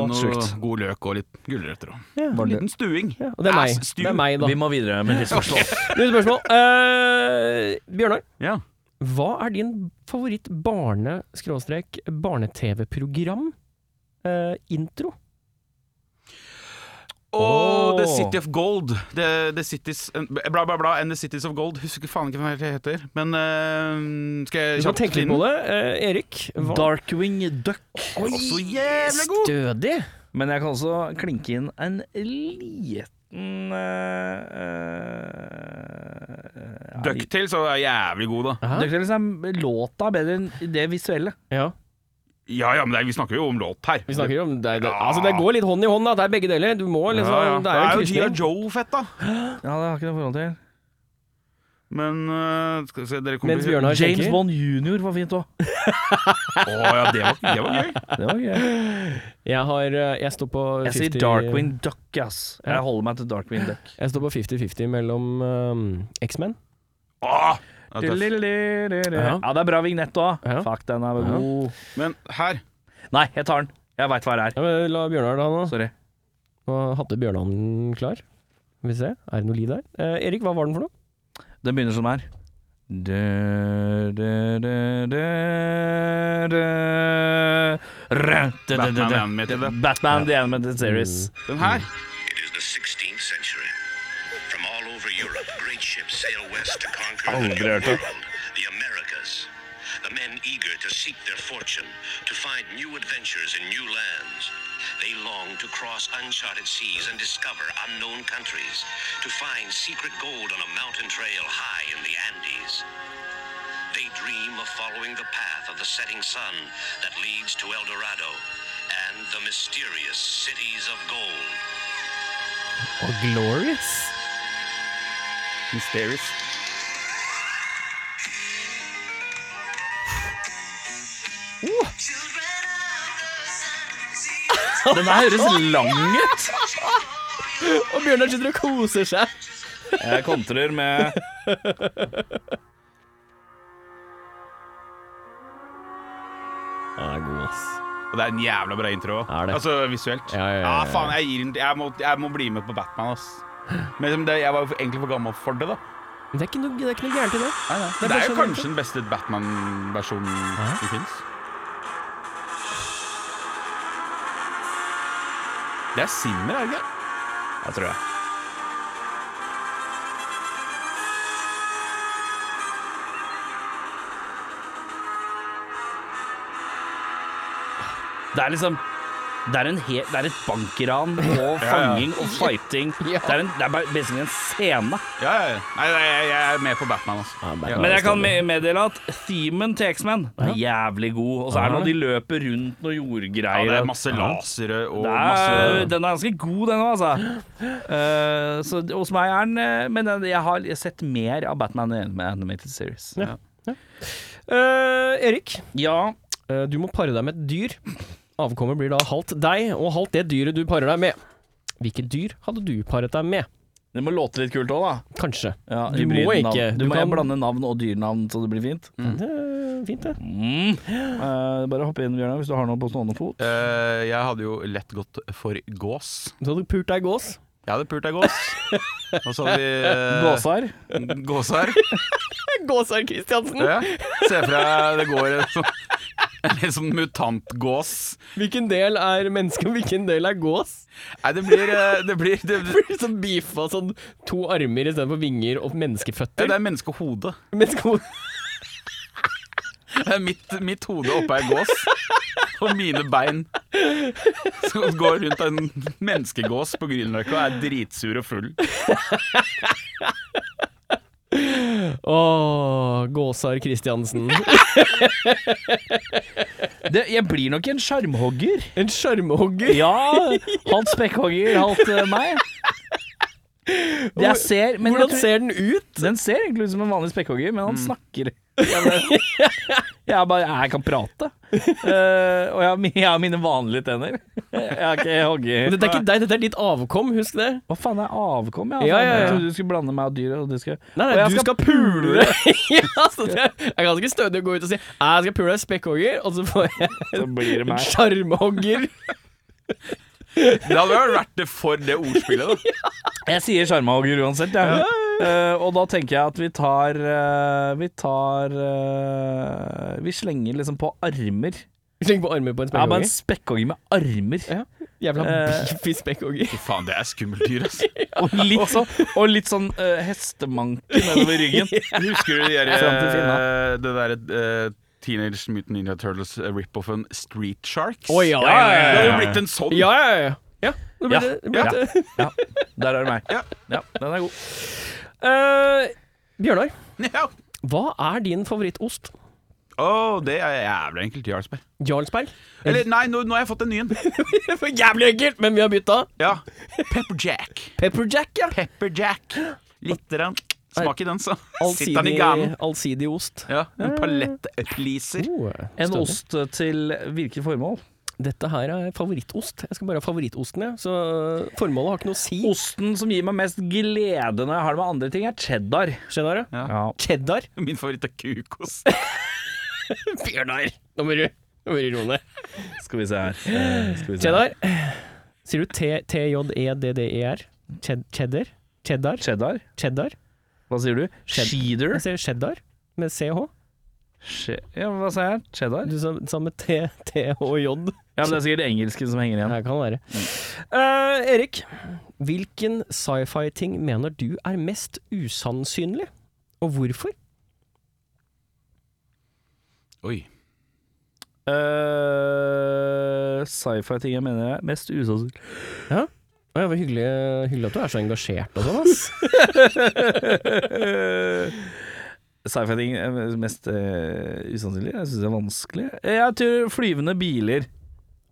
Speaker 2: noe
Speaker 1: Sjukt.
Speaker 2: god løk og litt gulrøtter og
Speaker 3: Ja.
Speaker 2: en liten stuing.
Speaker 3: Ja, og det er meg.
Speaker 2: Ass, stew.
Speaker 3: Det er meg, da.
Speaker 1: Vi må videre med disse spørsmål.
Speaker 3: Nye spørsmål. Eh, Bjørnar,
Speaker 2: Ja.
Speaker 3: hva er din favoritt barne-barne-TV-program? Eh, intro?
Speaker 1: Åh.
Speaker 2: Og The City of Gold. The, the cities, eh, bla, bla, bla. And The Cities of Gold. Husker faen ikke hva det heter. Men eh, skal
Speaker 3: Du
Speaker 2: jeg
Speaker 3: må tenke litt på
Speaker 2: inn?
Speaker 3: det. Eh, Erik? hva-
Speaker 1: Darkwing Duck.
Speaker 2: Også jævlig god!
Speaker 3: Stødig!
Speaker 1: Men jeg kan også klinke inn en liten eh, uh,
Speaker 2: Ducktails er jævlig god, da.
Speaker 3: Hæ?
Speaker 1: Ducktails er låta bedre enn det visuelle.
Speaker 3: Ja,
Speaker 2: Ja ja, men det er, vi snakker jo om låt her.
Speaker 3: vi snakker jo om det, det,
Speaker 2: Ja.
Speaker 3: altså, det går litt hånd i hånd, da. Det er begge deler. Du må liksom
Speaker 2: ja, ja.
Speaker 3: Det er jo en
Speaker 2: G.I.
Speaker 3: krysning.
Speaker 2: Joe fett, da.
Speaker 1: Ja, det har jeg ikke noe forhold til.
Speaker 2: Men øh, skal vi se, dere kommer
Speaker 3: Mens Bjørnar
Speaker 1: James
Speaker 3: tenker.
Speaker 1: Bond jr. var fint òg.
Speaker 2: Å ja, det var, det var gøy.
Speaker 1: Det var gøy.
Speaker 3: Jeg, har, eh, jeg står på
Speaker 1: Jeg sier
Speaker 3: 50
Speaker 1: Darkwing Duck, ass.
Speaker 3: Ja.
Speaker 1: Jeg holder meg til Darkwing Duck.
Speaker 3: Jeg står på 50-50 mellom eh, X-Men.
Speaker 2: Åh, Ah! ja, tøff.
Speaker 1: Ja,
Speaker 3: Ja.
Speaker 1: det er bra vignett òg.
Speaker 3: Ja.
Speaker 1: Fuck, den er god.
Speaker 2: Men her
Speaker 1: Nei, jeg tar den. Jeg veit hva det er.
Speaker 3: Ja, men la Bjørnar da nå.
Speaker 1: Sorry.
Speaker 3: Nå hadde Bjørnar den klar. Skal vi se, er det noe lyd der? Eh, Erik, hva var den for noe?
Speaker 1: Den begynner som her. Dø, dø, dø, dø, dø, rø, dø, dø, dø,
Speaker 2: Batman
Speaker 1: dø.
Speaker 2: Animated.
Speaker 1: Batman The Animated Series.
Speaker 2: Den her.
Speaker 5: It is the 16th century. From all over Europe, great ships sail west to conquer the new world, the Americas. The men eager to seek their fortune, to find new adventures in new lands. They long to cross uncharted seas and discover unknown countries, to find secret gold on a mountain trail high in the Andes. They dream of following the path of the setting sun that leads to El Dorado and the mysterious cities of gold.
Speaker 3: Og Glorious.
Speaker 2: Mysterious.
Speaker 1: Den her høres lang ut.
Speaker 3: Og Bjørnar sitter og koser seg.
Speaker 1: Jeg kontrer med
Speaker 3: Ja, det er god, ass.
Speaker 2: Og det er en jævla bra intro.
Speaker 3: Er det?
Speaker 2: Altså visuelt.
Speaker 3: Ja, ja, ja, ja.
Speaker 2: Ah, faen, jeg, gir, den- jeg, må, jeg må bli med på Batman, ass. Men liksom, det, jeg var jo for- egentlig for gammel for det, da.
Speaker 3: Men det er ikke noe, det er ikke noe gærent i det.
Speaker 2: Det er,
Speaker 3: bare
Speaker 2: jo
Speaker 3: sånn-
Speaker 2: kanskje den beste Batman-versjonen som fins. Det er Simmer, er det ikke?
Speaker 1: Jeg tror jeg. Det er liksom Det er, en he, det er et bankran og fanging og fighting. Det er, en, det er bare basically en scene.
Speaker 2: Ja, ja, ja. Nei, nei, jeg, jeg er med på Batman, altså.
Speaker 3: Ja, Batman.
Speaker 2: Ja.
Speaker 1: Men jeg kan me- meddele at themen til X-Men er jævlig god. Og så er det når de løper rundt noen
Speaker 2: Ja,
Speaker 1: jordgreier.
Speaker 2: det er masse lasere og
Speaker 1: Det
Speaker 2: masse
Speaker 1: er, den er ganske god, den òg, altså. Eh, så hos meg er den eh, Men den- jeg har sett mer av Batman enn med Animated Series.
Speaker 3: Ja. Eh, Erik,
Speaker 1: Ja,
Speaker 3: eh, du må pare deg med et dyr. Avkommet blir da halvt deg og halvt det dyret du parer deg med. Hvilket dyr hadde du paret deg med?
Speaker 1: det må låte litt kult òg, da.
Speaker 3: Kanskje.
Speaker 1: Ja,
Speaker 3: Du må
Speaker 1: hybridnavn.
Speaker 3: ikke.
Speaker 1: Du,
Speaker 3: Du
Speaker 1: må
Speaker 3: kan-
Speaker 1: blande navn og dyrnavn så det blir fint.
Speaker 2: Mm.
Speaker 3: Det er fint, det.
Speaker 1: Eh, bare hopp inn, Bjørnar, hvis du har noe på stående fot.
Speaker 2: Eh, Jeg hadde jo lett gått for gås.
Speaker 3: Du hadde pult deg gås.
Speaker 2: Jeg hadde pult ei gås. Og så hadde vi eh,
Speaker 1: Gåsar.
Speaker 2: Gåsar.
Speaker 3: Gåsar Kristiansen.
Speaker 2: Ja. Se for deg det går en sånn en litt sånn mutantgås.
Speaker 3: Hvilken del er menneske, og hvilken del er gås?
Speaker 2: Nei, det blir eh, Det, blir, det, det,
Speaker 3: Blir sånn beefa sånn to armer istedenfor vinger og menneskeføtter.
Speaker 2: det er menneskehode.
Speaker 3: Menneskehode.
Speaker 2: Det er mitt, mitt hode oppå ei gås, og mine bein som går rundt en menneskegås på Grünerløkka og er dritsur og full.
Speaker 3: Åh, Gåsar Kristiansen.
Speaker 1: Det, jeg blir nok en sjarmhogger.
Speaker 3: En sjarmhogger.
Speaker 1: Ja, halvt spekkhogger, halvt eh, meg. Det jeg ser, men jeg
Speaker 3: Hvordan
Speaker 1: tror-
Speaker 3: ser Mm. den ut?
Speaker 1: Den ser egentlig ut som en vanlig spekkhogger, men han snakker. Jeg, bare, jeg bare Jeg kan prate. Eh, og jeg, har mi- jeg har mine vanlige tenner. Jeg har ikke hogger.
Speaker 3: Men dette er ikke deg, dette er ditt avkom, husk det.
Speaker 1: Hva faen er avkom? Jeg,
Speaker 3: Ja, ja, ja.
Speaker 1: jeg trodde du skulle blande meg og dyret. Og du skulle...
Speaker 3: Nei,
Speaker 1: Og
Speaker 3: nei,
Speaker 1: jeg
Speaker 3: du skal pule! ja, så det er det er ganske stødig å gå ut og si Jeg skal pule deg spekkhogger, og så får jeg
Speaker 1: Så blir det
Speaker 3: en
Speaker 1: meg.
Speaker 3: sjarmhogger.
Speaker 2: Det hadde vel vært det for det ordspillet, da.
Speaker 1: Jeg sier sjarmhogger uansett, jeg. Eh, og da tenker jeg at vi tar eh, Vi tar eh, Vi slenger liksom på armer.
Speaker 3: Sleng på armer på en
Speaker 1: Ja, bare en spekkhogger
Speaker 3: spekkhogger.
Speaker 1: med armer.
Speaker 3: Ja, Jævla
Speaker 1: Eh.
Speaker 3: beefy spekkhogger.
Speaker 2: Fy faen, det er skummelt dyr, altså. ass.
Speaker 1: Og litt sånn, og litt sånn eh, hestemanke nedover ryggen.
Speaker 2: Husker du de der,
Speaker 1: Fram til Finna.
Speaker 2: eh, det derre eh, Teenage Mutant Ninja Turtles eh, rip-offen Street Sharks?
Speaker 3: Å, ja, ja, ja,
Speaker 2: Det
Speaker 3: ja,
Speaker 2: hadde
Speaker 3: ja.
Speaker 2: jo blitt en sånn.
Speaker 3: Ja, ja, ja. ja. Det ble
Speaker 1: Ja,
Speaker 3: det, det ble
Speaker 1: ja.
Speaker 3: det.
Speaker 1: Ja, der er det meg.
Speaker 2: Ja.
Speaker 1: Ja, den er god.
Speaker 3: Eh, Bjørnar,
Speaker 2: Ja.
Speaker 3: hva er din favorittost?
Speaker 2: Å, det er jævlig enkelt, Jarlsberg.
Speaker 3: Jarlsberg?
Speaker 2: Eller nei, nå, nå har jeg fått en ny en.
Speaker 3: For jævlig enkelt, men vi har bytta.
Speaker 2: Ja. Pepper Jack.
Speaker 3: Pepper Jack, ja.
Speaker 2: Pepper Jack. Litt rann. smak i den, så. Sitter den i
Speaker 3: Allsidig,
Speaker 2: ganen.
Speaker 3: allsidig ost.
Speaker 2: Ja, en palettfliser.
Speaker 3: Oh,
Speaker 1: En
Speaker 3: stødig.
Speaker 1: ost eh, til hvilket formål?
Speaker 3: Dette her er favorittost. Jeg skal bare ha favorittosten, jeg. Så øh, formålet har ikke noe å si.
Speaker 1: Osten som gir meg mest glede når jeg har det med andre ting, er cheddar.
Speaker 3: Cheddar, ja.
Speaker 1: Ja.
Speaker 3: Cheddar?
Speaker 2: Min favoritt er kukost.
Speaker 3: Bjørnar, nå må du nå må du roe ned.
Speaker 1: Skal vi se her. Eh, skal vi se her.
Speaker 3: Cheddar. Sier du T- E T-J-E-D-D-E-R? Ched- Cheddar? Cheddar?
Speaker 1: Cheddar?
Speaker 3: Cheddar?
Speaker 1: Hva sier du? Cheeder?
Speaker 3: Jeg sier cheddar med CH.
Speaker 1: Che ja, hva sa jeg? Cheddar?
Speaker 3: Du sa sa med T-T-H-J.
Speaker 1: Ja, men Det er sikkert engelsken som henger igjen.
Speaker 3: Her kan det være. Eh, Erik, hvilken sci-fi-ting mener du er mest usannsynlig, og hvorfor?
Speaker 2: Oi.
Speaker 1: Eh, Sci-fi-ting jeg mener er mest usannsynlig.
Speaker 3: Å, ja, det var hyggelig, hyggelig at du er så engasjert og sånn, ass.
Speaker 1: Eh, Sci-fi-ting er mest eh, usannsynlig? Jeg syns det er vanskelig. Jeg tror flyvende biler.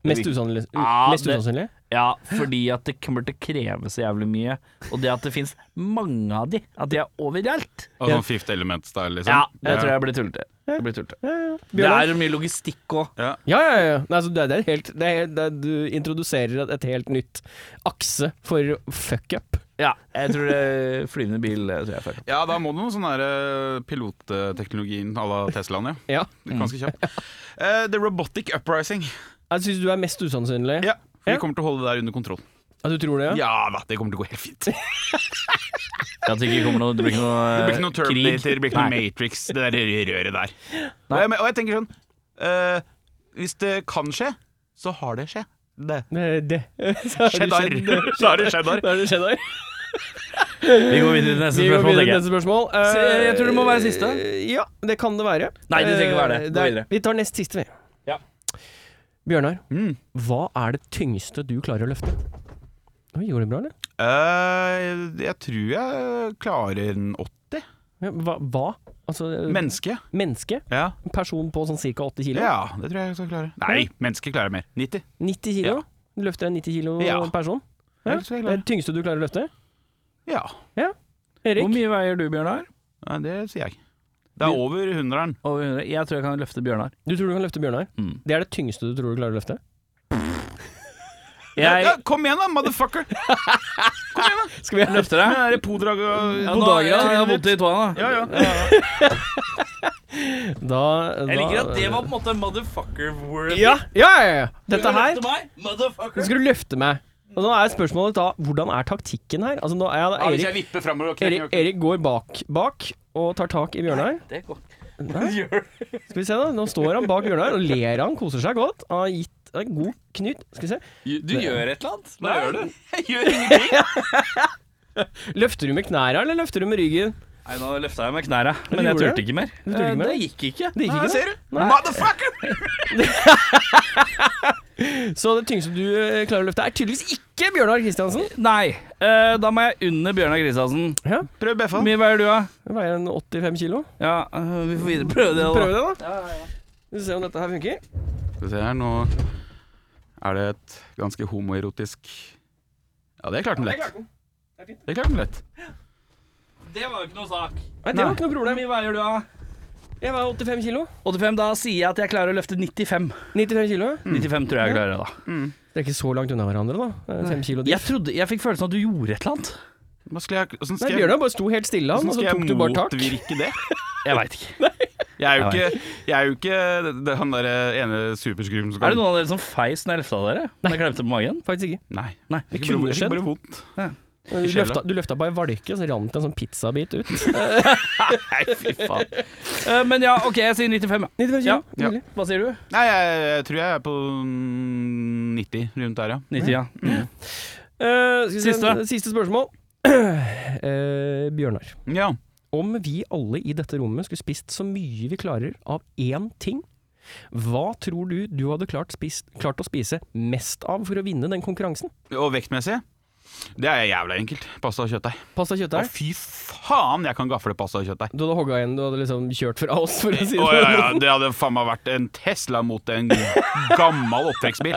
Speaker 3: Mest usannsynlig?
Speaker 1: Ja,
Speaker 3: mest
Speaker 1: det-
Speaker 3: usannsynlig?
Speaker 1: Ja, fordi at det kommer til å kreve så jævlig mye. Og det at det fins mange av de, at de er overalt,
Speaker 2: Og sånn Fifth Element-style, liksom.
Speaker 3: Ja,
Speaker 1: Jeg tror jeg blir tullete. Jeg blir tullete. Det
Speaker 3: Bjørnar?
Speaker 1: er mye logistikk òg.
Speaker 2: Ja.
Speaker 3: Ja, ja, ja. Nei, altså, det, er- det er helt, det er, det er, du introduserer et- et helt nytt akse for fuck up.
Speaker 1: Ja, jeg tror det flyvende bil eh, tror jeg føler.
Speaker 2: Ja, da må du noe sånn der eh, pilotteknologien à la Teslaen, ja.
Speaker 3: Ja.
Speaker 2: Ganske kjapt. Eh, The Robotic Uprising.
Speaker 3: Jeg syns du er mest usannsynlig.
Speaker 2: Ja, for
Speaker 3: Ja.
Speaker 2: Vi kommer til å holde det der under kontroll.
Speaker 3: At du tror det?
Speaker 2: Ja Eh, da, det kommer til å gå helt fint. Det
Speaker 1: At det ikke kommer noe Det blir ikke noe, eh,
Speaker 2: blir ikke noe Terminator, det blir ikke noe Matrix, det der røret der. Og jeg, og jeg tenker sånn eh, Hvis det kan skje, så har det skje. Det.
Speaker 3: Det, det. Så er det
Speaker 2: Cheddar.
Speaker 3: cheddar.
Speaker 2: Så er det cheddar.
Speaker 3: Da er det cheddar.
Speaker 1: Vi går videre til neste
Speaker 3: Vi går
Speaker 1: spørsmål,
Speaker 3: videre til
Speaker 1: tenker jeg.
Speaker 3: neste spørsmål. Eh,
Speaker 1: Så jeg- jeg tror det må være siste.
Speaker 3: Ja, det kan det være.
Speaker 1: Nei, det trenger ikke være det.
Speaker 3: Eh,
Speaker 1: Gå
Speaker 3: er-
Speaker 1: videre.
Speaker 3: Vi tar nest siste, vi.
Speaker 1: Ja.
Speaker 3: Bjørnar,
Speaker 2: Mm.
Speaker 3: hva er det tyngste du klarer å løfte? Oi, gjorde det bra, eller?
Speaker 2: Eh, jeg tror jeg klarer en 80.
Speaker 3: Ja, Hva? hva? Altså, eh,
Speaker 2: Menneske.
Speaker 3: menneske?
Speaker 2: Mm. Ja.
Speaker 3: Person på sånn ca. 80 kilo?
Speaker 2: ja, det tror jeg jeg skal klare. Nei, menneske klarer mer. 90.
Speaker 3: 90 kilo? Du Løfter en 90 kilo
Speaker 2: Ja.
Speaker 3: person?
Speaker 2: Ja,
Speaker 3: Ja.
Speaker 2: det tror jeg
Speaker 3: Det
Speaker 2: jeg
Speaker 3: er
Speaker 2: klarer.
Speaker 3: det tyngste du klarer å løfte?
Speaker 2: Ja,
Speaker 1: Hvor
Speaker 3: Erik?
Speaker 1: mye veier du, Bjørnar?
Speaker 2: Nei, det sier jeg. Det er over hundreren.
Speaker 1: Over 100? Jeg tror jeg kan løfte Bjørnar.
Speaker 3: Du tror du kan løfte Bjørnar?
Speaker 1: Mm.
Speaker 3: Det er det tyngste du tror du klarer å løfte?
Speaker 1: Jeg
Speaker 2: Ja, kom igjen da, motherfucker!
Speaker 1: Skal vi løfte deg?
Speaker 2: Er det podrag og
Speaker 1: Ja, nå, ja, jeg har vondt i tåa nå.
Speaker 2: Ja, ja.
Speaker 3: Da, da
Speaker 1: på en måte motherfucker-word.
Speaker 3: Ja, ja, ja, ja. Dette her Nå
Speaker 1: Motherfucker.
Speaker 3: skal du løfte meg. Og nå er spørsmålet da Hvordan er taktikken her? Altså nå er
Speaker 2: Ja,
Speaker 3: jeg,
Speaker 2: Ah, Hvis
Speaker 3: Erik,
Speaker 2: jeg vipper framover og
Speaker 3: Erik,
Speaker 2: knekker
Speaker 3: Erik går bak, bak og tar tak i Bjørnar.
Speaker 1: Det går ikke.
Speaker 3: Skal vi se da, Nå står han bak Bjørnar og ler han, koser seg godt. Han har gitt en god knut. Skal vi se.
Speaker 1: Du gjør et eller annet. Hva
Speaker 2: Nei,
Speaker 1: gjør du?
Speaker 2: Jeg gjør ingenting!
Speaker 3: Løfter du med knærne, eller løfter du med ryggen?
Speaker 1: Nei, nå løfta jeg med knæra, men
Speaker 3: Du
Speaker 1: jeg
Speaker 3: gjorde
Speaker 1: turte ikke mer.
Speaker 3: turte ikke
Speaker 1: Eh,
Speaker 3: mer?
Speaker 1: Det gikk ikke.
Speaker 3: Det gikk
Speaker 2: Her
Speaker 3: ikke.
Speaker 2: ser du! Motherfucker!
Speaker 3: da. Så det tyngste du eh, klarer å løfte, er tydeligvis ikke Bjørnar Kristiansen.
Speaker 1: Nei, eh, da må jeg under Bjørnar Kristiansen.
Speaker 3: Ja,
Speaker 2: Prøv
Speaker 1: Hvor
Speaker 2: Beffa.
Speaker 1: mye veier du, da?
Speaker 3: det Veier en 85 kilo.
Speaker 1: Ja, eh, vi får videre prøve det. da.
Speaker 3: Prøv det, da. Vi får se om dette her funker.
Speaker 2: Skal vi se her, nå er det et ganske homoerotisk Ja, det klarte den lett. Det klarte den lett.
Speaker 1: Det var jo ikke noe sak.
Speaker 3: Nei, det var ikke noe problem.
Speaker 1: Hvor mye veier du, da?
Speaker 3: Jeg veier 85 kilo.
Speaker 1: 85. Da sier jeg at jeg klarer å løfte 95.
Speaker 3: 95 kilo.
Speaker 2: Mm.
Speaker 1: 95 tror jeg jeg klarer, da.
Speaker 3: Det er ikke så langt unna hverandre, da. Eh, Fem kilo dit.
Speaker 1: Jeg trodde, jeg fikk følelsen av at du gjorde et eller annet.
Speaker 2: Hva skal jeg, hvordan
Speaker 3: Nei,
Speaker 2: skal jeg,
Speaker 3: Bjørnar bare sto helt stille, han,
Speaker 2: hvordan
Speaker 3: og
Speaker 2: skal
Speaker 3: så
Speaker 2: jeg
Speaker 3: tok du bare tak.
Speaker 2: motvirke det?
Speaker 1: Jeg veit ikke.
Speaker 2: Jeg er jo ikke, jeg er jo ikke det- det- han derre ene superskruen som
Speaker 1: Er det noen av dere som feis når jeg løfta dere? Når jeg klemte på magen?
Speaker 3: Faktisk ikke.
Speaker 2: Nei.
Speaker 1: Nei.
Speaker 2: Det
Speaker 3: kunne
Speaker 2: kunne skjedd.
Speaker 3: skjedd.
Speaker 2: Bare vondt.
Speaker 3: Du
Speaker 2: sjela.
Speaker 3: løfta, du løfta bare ei valke, og så rant det en sånn pizzabit ut. 95
Speaker 1: Eh, men ja, OK, jeg sier 95. ja.
Speaker 3: kilo.
Speaker 1: Ja,
Speaker 2: ja.
Speaker 3: Nydelig.
Speaker 1: Hva sier du?
Speaker 2: Nei, jeg, jeg tror jeg er på mm, 90 rundt der, ja.
Speaker 1: 90, ja.
Speaker 3: Eh, skal vi se,
Speaker 1: Siste.
Speaker 3: siste spørsmål. Eh, Bjørnar.
Speaker 2: Ja.
Speaker 3: Om vi alle i dette rommet skulle spist så mye vi klarer av én ting, hva tror du du hadde klart, spist, klart å spise mest av for å vinne den konkurransen?
Speaker 2: Og vektmessig? Det er jævla enkelt. Pasta og kjøttdeig.
Speaker 3: Pasta
Speaker 2: Å,
Speaker 3: kjøttdeig?
Speaker 2: fy faen, jeg kan gafle pasta og kjøttdeig.
Speaker 3: Du hadde hogga igjen, du hadde liksom kjørt fra oss, for å si
Speaker 2: Å
Speaker 3: det på
Speaker 2: ja,
Speaker 3: den
Speaker 2: ja,
Speaker 3: måten.
Speaker 2: det hadde faen meg vært en Tesla mot en gammel oppvekstbil.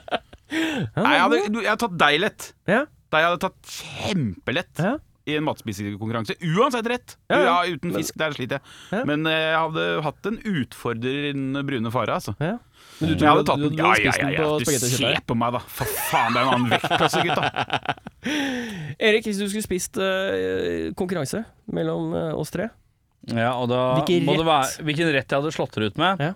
Speaker 2: Nei, jeg hadde, du, jeg hadde tatt deg lett.
Speaker 3: Ja.
Speaker 2: Deg hadde tatt kjempelett
Speaker 3: Ja.
Speaker 2: i en matspisekonkurranse. Uansett rett.
Speaker 3: Ja,
Speaker 2: Ja,
Speaker 3: ja.
Speaker 2: uten fisk, der sliter jeg.
Speaker 3: Ja.
Speaker 2: Men eh, jeg hadde hatt en utfordrer i den brune fare, altså.
Speaker 3: Ja. Men
Speaker 2: Jeg hadde tatt
Speaker 3: du-
Speaker 2: den.
Speaker 3: du
Speaker 2: Ja,
Speaker 3: hadde
Speaker 2: ja,
Speaker 3: spist
Speaker 2: ja,
Speaker 3: den
Speaker 2: ja.
Speaker 3: på
Speaker 2: Du
Speaker 3: spagetti og kjøttdeig?
Speaker 2: ser på meg, da. For faen, det er en annen vektklasse, gutta.
Speaker 3: Erik, hvis du skulle spist eh, konkurranse mellom eh, oss tre
Speaker 1: Ja, og da
Speaker 3: Hvilken
Speaker 1: må det
Speaker 3: rett?
Speaker 1: være hvilken rett jeg hadde slått dere ut med.
Speaker 3: Ja.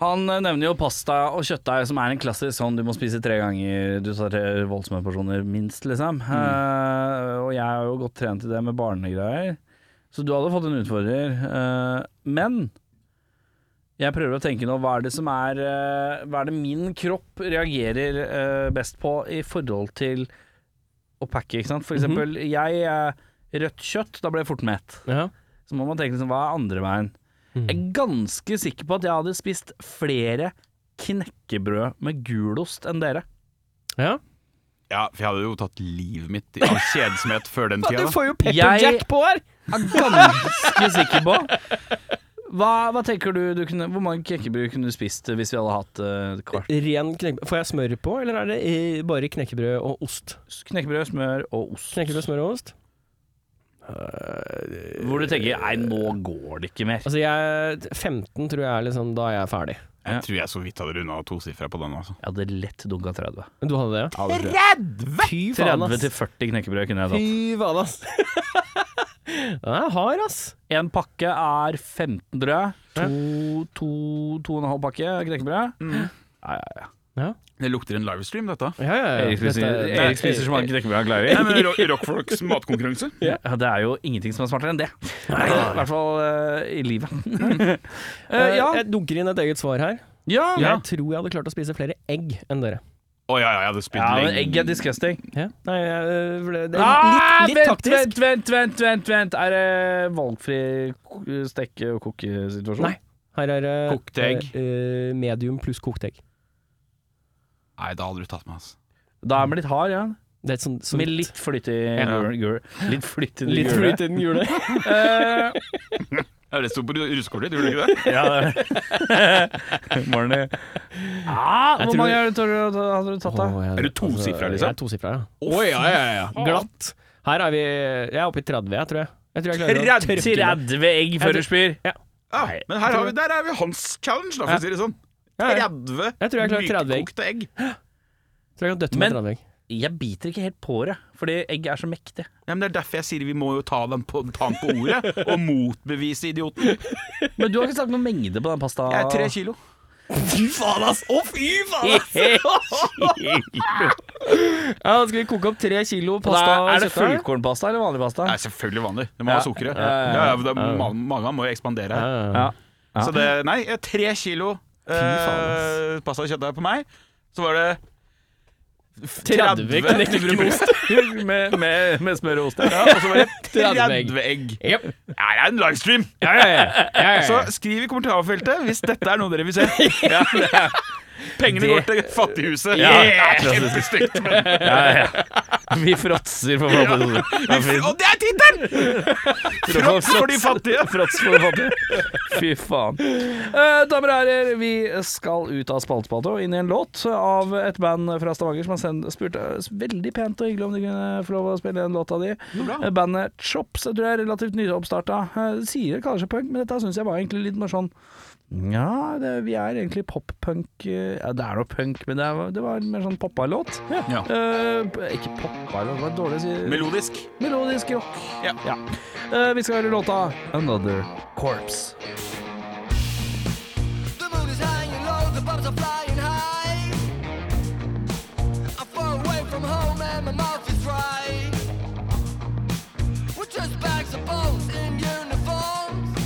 Speaker 1: Han eh, nevner jo pasta og kjøttdeig, som er en klassisk sånn du må spise tre ganger Du tar tre voldsomme porsjoner minst, liksom.
Speaker 3: Mm.
Speaker 1: Eh, og jeg er jo godt trent i det med barnegreier, så du hadde fått en utfordrer. Eh, men jeg prøver å tenke nå, hva er det som er eh, Hva er det min kropp reagerer eh, best på i forhold til å pakke, ikke sant? For
Speaker 3: Mhm.
Speaker 1: eksempel, jeg eh, Rødt kjøtt, da ble jeg fort mett.
Speaker 3: ja.
Speaker 1: Så må man tenke liksom, hva er andre veien? Jeg er ganske sikker på at jeg hadde spist flere knekkebrød med gulost enn dere.
Speaker 3: Ja.
Speaker 2: Ja, for jeg hadde jo tatt livet mitt av kjedsomhet før den tida.
Speaker 3: Du
Speaker 2: da.
Speaker 3: får jo pepper
Speaker 1: Jeg-
Speaker 3: jack på her!
Speaker 1: Jeg er ganske sikker på. Hva, hva tenker du, du kunne, Hvor mange knekkebrød kunne du spist eh, hvis vi hadde hatt eh, et kvart?
Speaker 3: Ren knekkebrød. Får jeg smør på, eller er det eh, bare knekkebrød og ost?
Speaker 1: Knekkebrød, smør og ost.
Speaker 3: Knekkebrød, smør og ost?
Speaker 1: Hvor du tenker 'nei, nå går det ikke mer'.
Speaker 3: Altså jeg, 15 tror jeg er liksom da jeg er ferdig.
Speaker 2: Jeg tror jeg så vidt hadde runda tosifra på den. altså
Speaker 1: Jeg hadde lett dunka 30.
Speaker 3: Men du hadde det, ja?
Speaker 2: 30!
Speaker 3: Fy
Speaker 1: 30 til 40 knekkebrød kunne jeg tatt.
Speaker 3: Fy faen, ass. Den er hard, ass.
Speaker 1: En pakke er 15 brød. To, to, to og en halv pakke knekkebrød. Ja, ja, ja.
Speaker 3: Ja,
Speaker 2: Det lukter en livestream, dette.
Speaker 3: ja, ja. ja.
Speaker 1: Erik spiser,
Speaker 3: Dette-
Speaker 1: Erik spiser så mange knekkebrød han klarer.
Speaker 2: Nei, men Ro- Rockfolks matkonkurranse.
Speaker 1: Ja, det er jo ingenting som er smartere enn det. I hvert fall eh, i livet. Eh,
Speaker 3: Eh,
Speaker 1: ja.
Speaker 3: Jeg dunker inn et eget svar her.
Speaker 1: ja.
Speaker 2: Ja.
Speaker 3: Jeg tror jeg hadde klart å spise flere egg enn dere.
Speaker 2: Å ja, ja, jeg hadde spydd
Speaker 1: Ja, men
Speaker 2: lenge.
Speaker 1: egg er disgusting.
Speaker 3: Ja. Nei, jeg, øh, for det, det
Speaker 1: Ah,
Speaker 3: er litt, litt
Speaker 1: vent,
Speaker 3: taktisk.
Speaker 1: vent, vent, vent, vent, vent. Er det valgfri k- stekke- og kokesituasjon?
Speaker 3: Nei. Her er det
Speaker 2: Kokt egg.
Speaker 3: øh, medium pluss kokt egg.
Speaker 2: Nei, da hadde du tatt meg, altså.
Speaker 1: Da er man litt hard, ja.
Speaker 3: Det er et sånt, sånt
Speaker 1: Med litt flytt i gul- gul- Litt flytt i det
Speaker 3: Litt
Speaker 1: gule.
Speaker 3: flyt i den gule.
Speaker 1: Eh,
Speaker 2: Ja, Det sto på russekortet ditt, gjorde det ikke det?
Speaker 1: ja, det er Morny. Ah,
Speaker 3: Jeg
Speaker 1: hvor
Speaker 3: tror-
Speaker 1: mange er det tror du- hadde du tatt, da?
Speaker 3: Åh, jeg-
Speaker 2: Er du tosifra, liksom?
Speaker 3: Altså, Jeg er tosifra, ja.
Speaker 2: Å ja, ja, ja.
Speaker 3: Glatt. Her er vi Jeg er oppe i 30, jeg, tror jeg. Jeg tror jeg klarer å
Speaker 1: 30
Speaker 3: tørke meg.
Speaker 1: egg før du spyr.
Speaker 2: Ja, Ah, men her har vi, der er vi hans challenge, da, for å si det sånn.
Speaker 3: Ja, ja.
Speaker 2: 30
Speaker 3: Jeg tror jeg klarer 30 egg.
Speaker 2: nykokte egg.
Speaker 3: Tror jeg kan døtte
Speaker 1: Men-
Speaker 3: med 30 egg.
Speaker 1: Jeg biter ikke helt på det, fordi egg er så mektig.
Speaker 2: Ja, men det er derfor jeg sier vi må jo ta den på, ta den på ordet, og motbevise idioten.
Speaker 1: Men du har ikke sagt noen mengde på den pasta.
Speaker 3: Ah.
Speaker 2: Jeg er tre kilo.
Speaker 3: Fy faen, ass! Å, fy faen! Ja, da skal vi koke opp tre kilo pasta
Speaker 1: Da er
Speaker 3: og
Speaker 1: det
Speaker 3: kjøttdeig.
Speaker 1: fullkornpasta eller vanlig pasta?
Speaker 2: Det er selvfølgelig vanlig. Det må ha sukkeret. Ja,
Speaker 1: ja,
Speaker 2: ja, for det er- ma- Magen må jo ekspandere.
Speaker 1: Ja.
Speaker 2: Så det Nei, eh, tre kilo eh, pasta og kjøttdeig på meg. Så var det
Speaker 3: 30 knekkebrød med ost.
Speaker 1: med, med, med smør og ost.
Speaker 2: Ja, og så var det
Speaker 3: 30
Speaker 2: 30
Speaker 3: egg.
Speaker 2: egg.
Speaker 3: Jep.
Speaker 2: Ja, det er en livestream!
Speaker 3: Ja, ja, ja. ja, ja, ja.
Speaker 2: Så skriv i kommentarfeltet hvis dette er noe dere vil se. Ja, det er- Pengene går til Fattighuset. Yeah! Kjempestygt. men-
Speaker 1: Vi fråtser for fattige.
Speaker 2: Og det er tittelen! Frott for de fattige.
Speaker 1: Fråts for fattige. Fy faen. Eh, damer og herrer, vi skal ut av spaltespalta og inn i en låt av et band fra Stavanger som har sendt, spurt oss veldig pent og hyggelig om de kunne få lov å spille den låta di. Eh, Bandet Chops jeg tror jeg er relativt nyoppstarta. Eh, Sier det kanskje punk, men dette syns jeg var egentlig litt mer sånn Nja, det- vi er egentlig pop-punk eh, Ja, det er noe punk, men det, er, det var en mer sånn poppa-låt.
Speaker 2: Ja.
Speaker 1: Eh, ikke poppa-låt, det var dårlig å si.
Speaker 2: Melodisk.
Speaker 1: Melodisk rock.
Speaker 2: Ja.
Speaker 1: Eh, vi skal høre låta 'Another Corpse'.
Speaker 6: The moon is hanging low, the bubbles are flying high. I'm far away from home and my mouth is dry. We're just bags of bones in uniforms.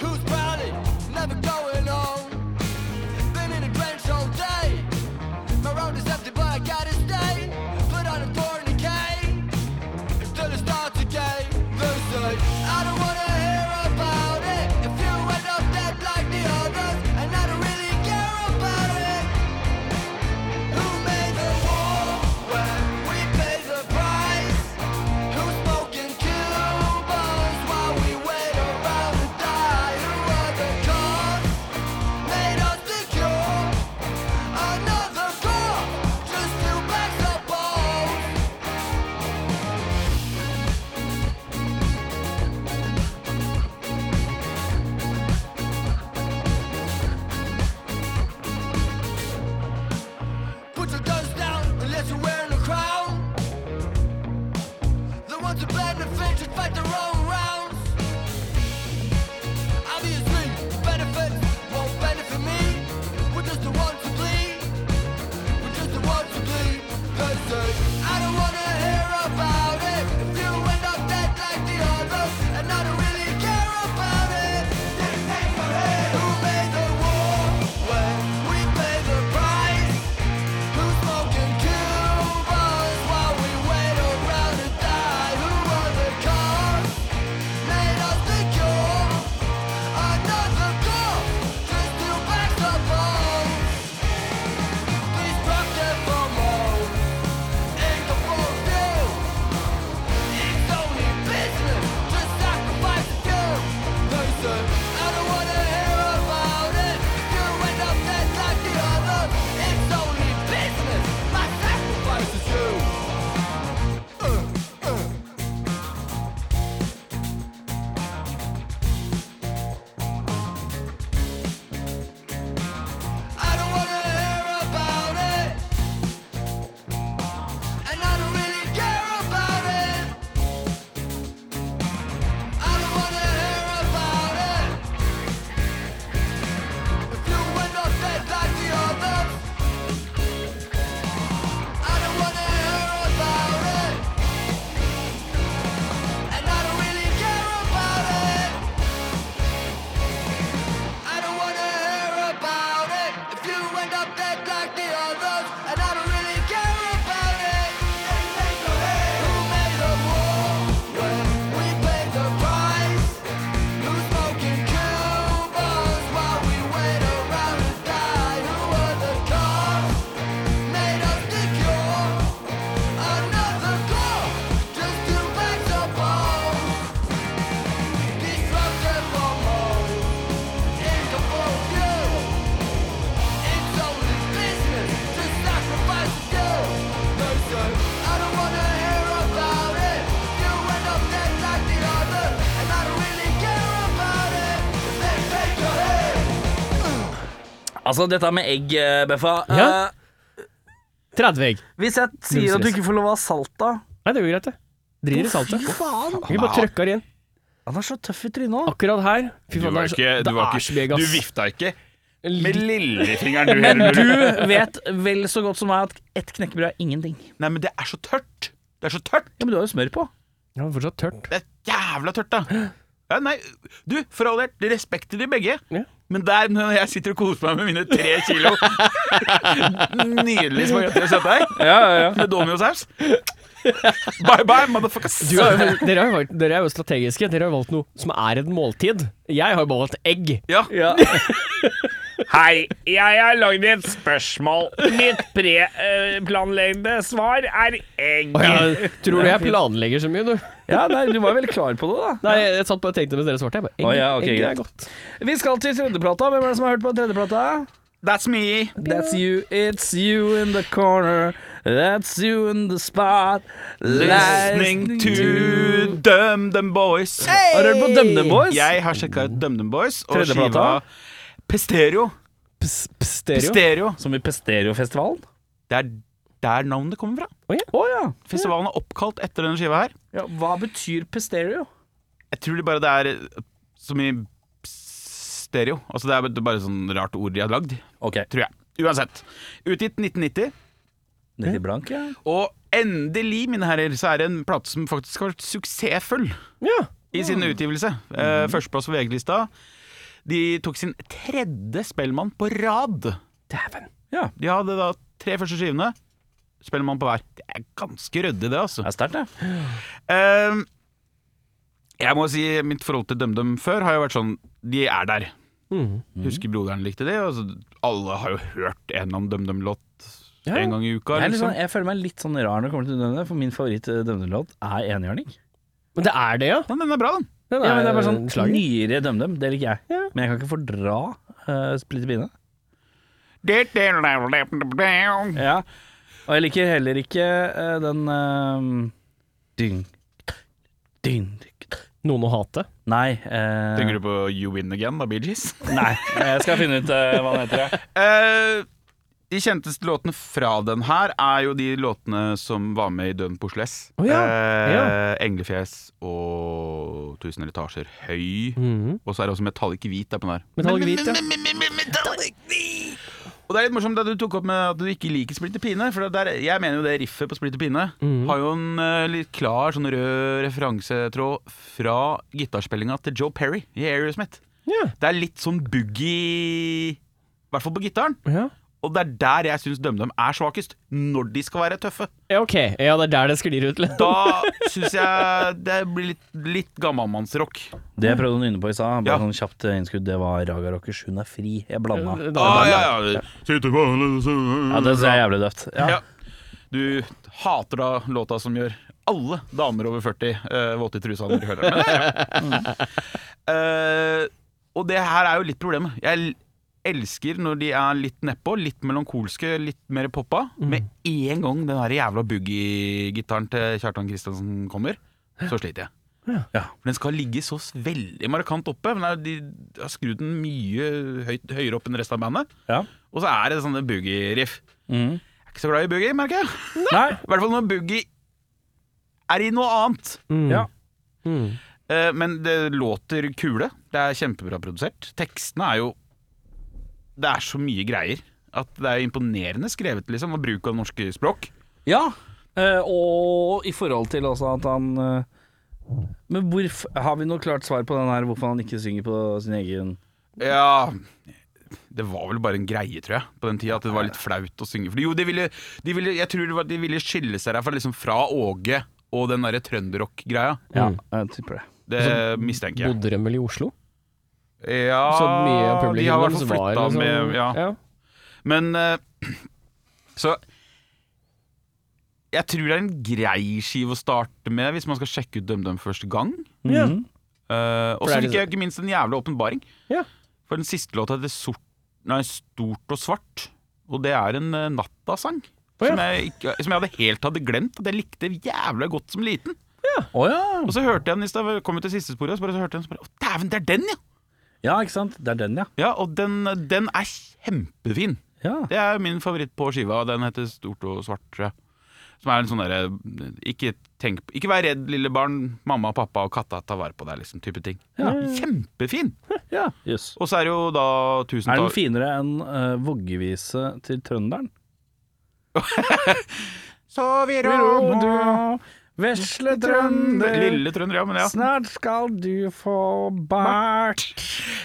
Speaker 6: Who's proudly never going home? Been in a trench all day. My road is empty, but I gotta stay. Put on a tourniquet until it starts again. They say I don't wanna hear about.
Speaker 1: Altså, dette med egg, eh, Beffa.
Speaker 3: Ja.
Speaker 1: Eh,
Speaker 3: 30 egg.
Speaker 1: hvis jeg sier at du
Speaker 3: stress.
Speaker 1: ikke får lov å ha salt, da
Speaker 3: Nei, det går greit, det. Driter i saltet.
Speaker 1: Fy faen!
Speaker 3: Vi bare trøkker inn.
Speaker 1: Han er så tøff i trynet òg.
Speaker 3: Akkurat her Fy
Speaker 2: Du,
Speaker 3: faen,
Speaker 2: var
Speaker 3: det er så-
Speaker 2: ikke, du,
Speaker 3: det
Speaker 2: var
Speaker 3: er så mye
Speaker 2: ikke, du
Speaker 3: gass.
Speaker 2: vifta ikke med
Speaker 3: Litt-
Speaker 2: lillefingeren, du heller.
Speaker 1: Du
Speaker 2: Nordli.
Speaker 1: vet vel så godt som meg at ett knekkebrød er ingenting.
Speaker 2: Nei, men det er så tørt! Det er så tørt!
Speaker 1: Ja, Men du har jo smør på.
Speaker 3: Ja, men fortsatt tørt.
Speaker 2: Det er jævla tørt, da. Ja, nei, du, for all del, respekt til de begge.
Speaker 3: Ja.
Speaker 2: Men der, når jeg sitter og koser meg med mine tre kilo Nydelig spagetti og kjøttdeig
Speaker 1: Ja, ja,
Speaker 2: med Dominosaus. Bye bye, motherfuckers.
Speaker 3: Du har jo, dere, har jo valgt, dere er jo strategiske. Dere har valgt noe som er et måltid. Jeg har jo bare valgt egg.
Speaker 2: Ja.
Speaker 7: Hei, jeg har lagd et spørsmål. Mitt preplanlagde svar er egg.
Speaker 3: Jeg tror du jeg planlegger så mye, du?
Speaker 1: ja nei, du var jo veldig klar på det, da.
Speaker 3: Nei, jeg satt bare og tenkte mens dere svarte. Jeg bare, egg,
Speaker 1: Å, ja, ok,
Speaker 3: egg
Speaker 1: greit.
Speaker 3: er godt.
Speaker 1: Vi skal til tredjeplata. Hvem er det som har hørt på tredjeplata?
Speaker 2: That's me.
Speaker 1: That's you, it's you in the corner. That's you in the spot.
Speaker 2: Listening to DumDum Boys.
Speaker 1: Har du hørt på DumDum Boys?
Speaker 2: Jeg har sjekka ut DumDum Boys og
Speaker 1: Tredje plata.
Speaker 2: skiva Pestereo.
Speaker 3: Ps- ps- Stereo.
Speaker 2: Pestereo.
Speaker 1: Som i Pesterofestivalen?
Speaker 2: Det er der navnet kommer fra.
Speaker 1: Å ja.
Speaker 2: Festivalen er oppkalt etter denne skiva her.
Speaker 1: ja. Hva betyr Pestereo?
Speaker 2: Jeg tror det bare det er eh, som i stereo. Altså det er bare- bare sånn rart ord de har lagd,
Speaker 1: Ok,
Speaker 2: tror jeg. Uansett. Utgitt 1990.
Speaker 1: Nitty Blank, ja.
Speaker 2: Og endelig, mine herrer, så er det en plate som faktisk har vært suksessfull
Speaker 3: Ja. Mhm.
Speaker 2: i sin utgivelse. Eh, Førsteplass på VG-lista. De tok sin tredje Spellemann på rad.
Speaker 3: Dæven.
Speaker 2: De hadde da tre første skivene. Spellemann på hver. Det er ganske ryddig, det, altså.
Speaker 1: Det er sterkt, det.
Speaker 2: Ehm, jeg må si mitt forhold til DumDum før har jo vært sånn De er der.
Speaker 3: Mhm.
Speaker 2: Husker broderen likte det. Altså, alle har jo hørt en om DumDum-låt
Speaker 3: Ja.
Speaker 2: en gang i uka.
Speaker 1: Jeg, er litt
Speaker 2: Liksom.
Speaker 1: sånn, jeg føler meg litt sånn rar når det kommer til denne, for min favoritt eh, DumDum-låt er enhjørning.
Speaker 3: Men det er det, ja? eh,
Speaker 2: Ja, den er bra, den.
Speaker 3: Den
Speaker 1: Ja, men det er bare sånn
Speaker 3: slager.
Speaker 1: nyere DumDum, det liker jeg.
Speaker 3: Ja.
Speaker 1: Men jeg kan ikke fordra uh, Splitter Pine. Ja. Og jeg liker heller ikke eh, den eh, Dyng, dyng
Speaker 3: Noen å hate.
Speaker 1: Nei. eh,
Speaker 2: Tenker du på You Win Again av Bee Gees?
Speaker 1: Nei, jeg skal finne ut eh, hva den heter. jeg.
Speaker 2: Eh, de kjenteste låtene fra den her er jo de låtene som var med i Døden på Oslo S.
Speaker 3: Å ja,
Speaker 2: Eh,
Speaker 3: ja.
Speaker 2: Englefjes og Tusen etasjer høy.
Speaker 3: Mhm.
Speaker 2: Og så er det også Metallic Hvit der på den her.
Speaker 3: Metallic hvit, ja.
Speaker 2: Og det er litt morsomt det du tok opp med at du ikke liker Splitter Pine. For det der, jeg mener jo det riffet på Splitter Pine har jo en eh, litt klar sånn rød referansetråd fra gitarspillinga til Joe Perry i Aerosmith.
Speaker 3: Ja.
Speaker 2: Det er litt sånn boogie I hvert fall på gitaren.
Speaker 3: ja.
Speaker 2: Og det er der jeg syns DumDum er svakest. Når de skal være tøffe.
Speaker 3: Ja, ok. Ja, det er der det sklir ut liksom. litt.
Speaker 2: Da syns jeg det blir litt, litt gammalmannsrock.
Speaker 1: Det jeg prøvde å nynne på i stad, bare
Speaker 2: Ja.
Speaker 1: sånn kjapt innskudd, det var Raga Rockers 'Hun er fri'. Jeg blanda.
Speaker 2: Ah,
Speaker 3: Da-
Speaker 2: ja.
Speaker 1: Ja, det ser jeg jævlig døvt. Ja.
Speaker 2: Ja. Du hater da låta som gjør alle damer over 40 eh, våte i trusa når de hører den. Men det er bra. Eh, og det her er jo litt problemet. Jeg l- elsker når de er litt nedpå, litt melankolske, litt mer poppa. Med en gang den her jævla boogie-gitaren til Kjartan Kristiansen kommer, så sliter jeg.
Speaker 1: Ja.
Speaker 2: For Den skal ligge så s- veldig markant oppe. Men det er- de har skrudd den mye høyt, høyere opp enn resten av bandet.
Speaker 1: Ja.
Speaker 2: Og så er det sånne boogie-riff.
Speaker 1: Mhm.
Speaker 2: Jeg er ikke så glad i boogie, merker jeg.
Speaker 1: Nei.
Speaker 2: I hvert fall når Boogie er i noe annet.
Speaker 3: Mm.
Speaker 1: Ja.
Speaker 3: Mm.
Speaker 2: Eh, men det låter kule. Det er kjempebra produsert. Tekstene er jo Det er så mye greier at det er imponerende skrevet, liksom, og bruk av norske språk.
Speaker 1: Ja, eh, og i forhold til også at han eh, Men hvorf- har vi noe klart svar på den her, hvorfor han ikke synger på sin egen
Speaker 2: Ja Det var vel bare en greie, tror jeg, på den tida, at det var litt flaut å synge. For jo, de ville, de ville Jeg tror det var, de ville skille seg derfra, liksom fra Åge og den derre trønderrock-greia.
Speaker 1: Ja,
Speaker 3: Mm.
Speaker 1: jeg tipper det.
Speaker 2: Det mistenker jeg.
Speaker 3: Bodde de vel i Oslo?
Speaker 2: Ja,
Speaker 3: Altså, Så mye av
Speaker 2: Ah, de har i hvert
Speaker 3: publikum
Speaker 2: fall
Speaker 3: var liksom-
Speaker 2: flytta med ja.
Speaker 3: ja.
Speaker 2: Men eh, Så Jeg tror det er en grei skive å starte med hvis man skal sjekke ut DumDum første gang.
Speaker 3: Ja.
Speaker 1: Mhm.
Speaker 2: Eh, og
Speaker 3: det
Speaker 2: så
Speaker 3: er
Speaker 2: liker
Speaker 3: liksom-
Speaker 2: jeg ikke minst en jævla åpenbaring.
Speaker 3: Ja.
Speaker 2: For den siste låta heter sort, nei, Stort og svart, og det er en eh, nattasang.
Speaker 3: Å, ja.
Speaker 2: Som, jeg ikke, som jeg hadde helt hadde glemt at jeg likte jævla godt som
Speaker 1: Å
Speaker 2: liten.
Speaker 1: ja.
Speaker 2: Og så hørte jeg den i stad, kom jeg til siste sporet, og så bare så hørte jeg den så bare Å, dæven, det er den, ja!
Speaker 1: Ja, ikke sant. Det er den, ja.
Speaker 2: Ja, og den, den er kjempefin.
Speaker 1: ja.
Speaker 2: Det er min favoritt på skiva. og Den heter Stort og svart, tror jeg. Som er en sånn derre ikke, tenk- ikke vær redd, lille barn. Mamma og pappa og katta tar vare på deg, liksom. Type ting.
Speaker 1: Ja.
Speaker 2: Kjempefin!
Speaker 1: Ja, jøss.
Speaker 2: Og så er det jo da tusen
Speaker 1: Er den
Speaker 2: takk-
Speaker 1: finere enn eh, voggevise til trønderen?
Speaker 2: Så vi rår nå.
Speaker 1: vesle
Speaker 2: Lille trønder, ja. Men ja.
Speaker 1: snart skal du få bart.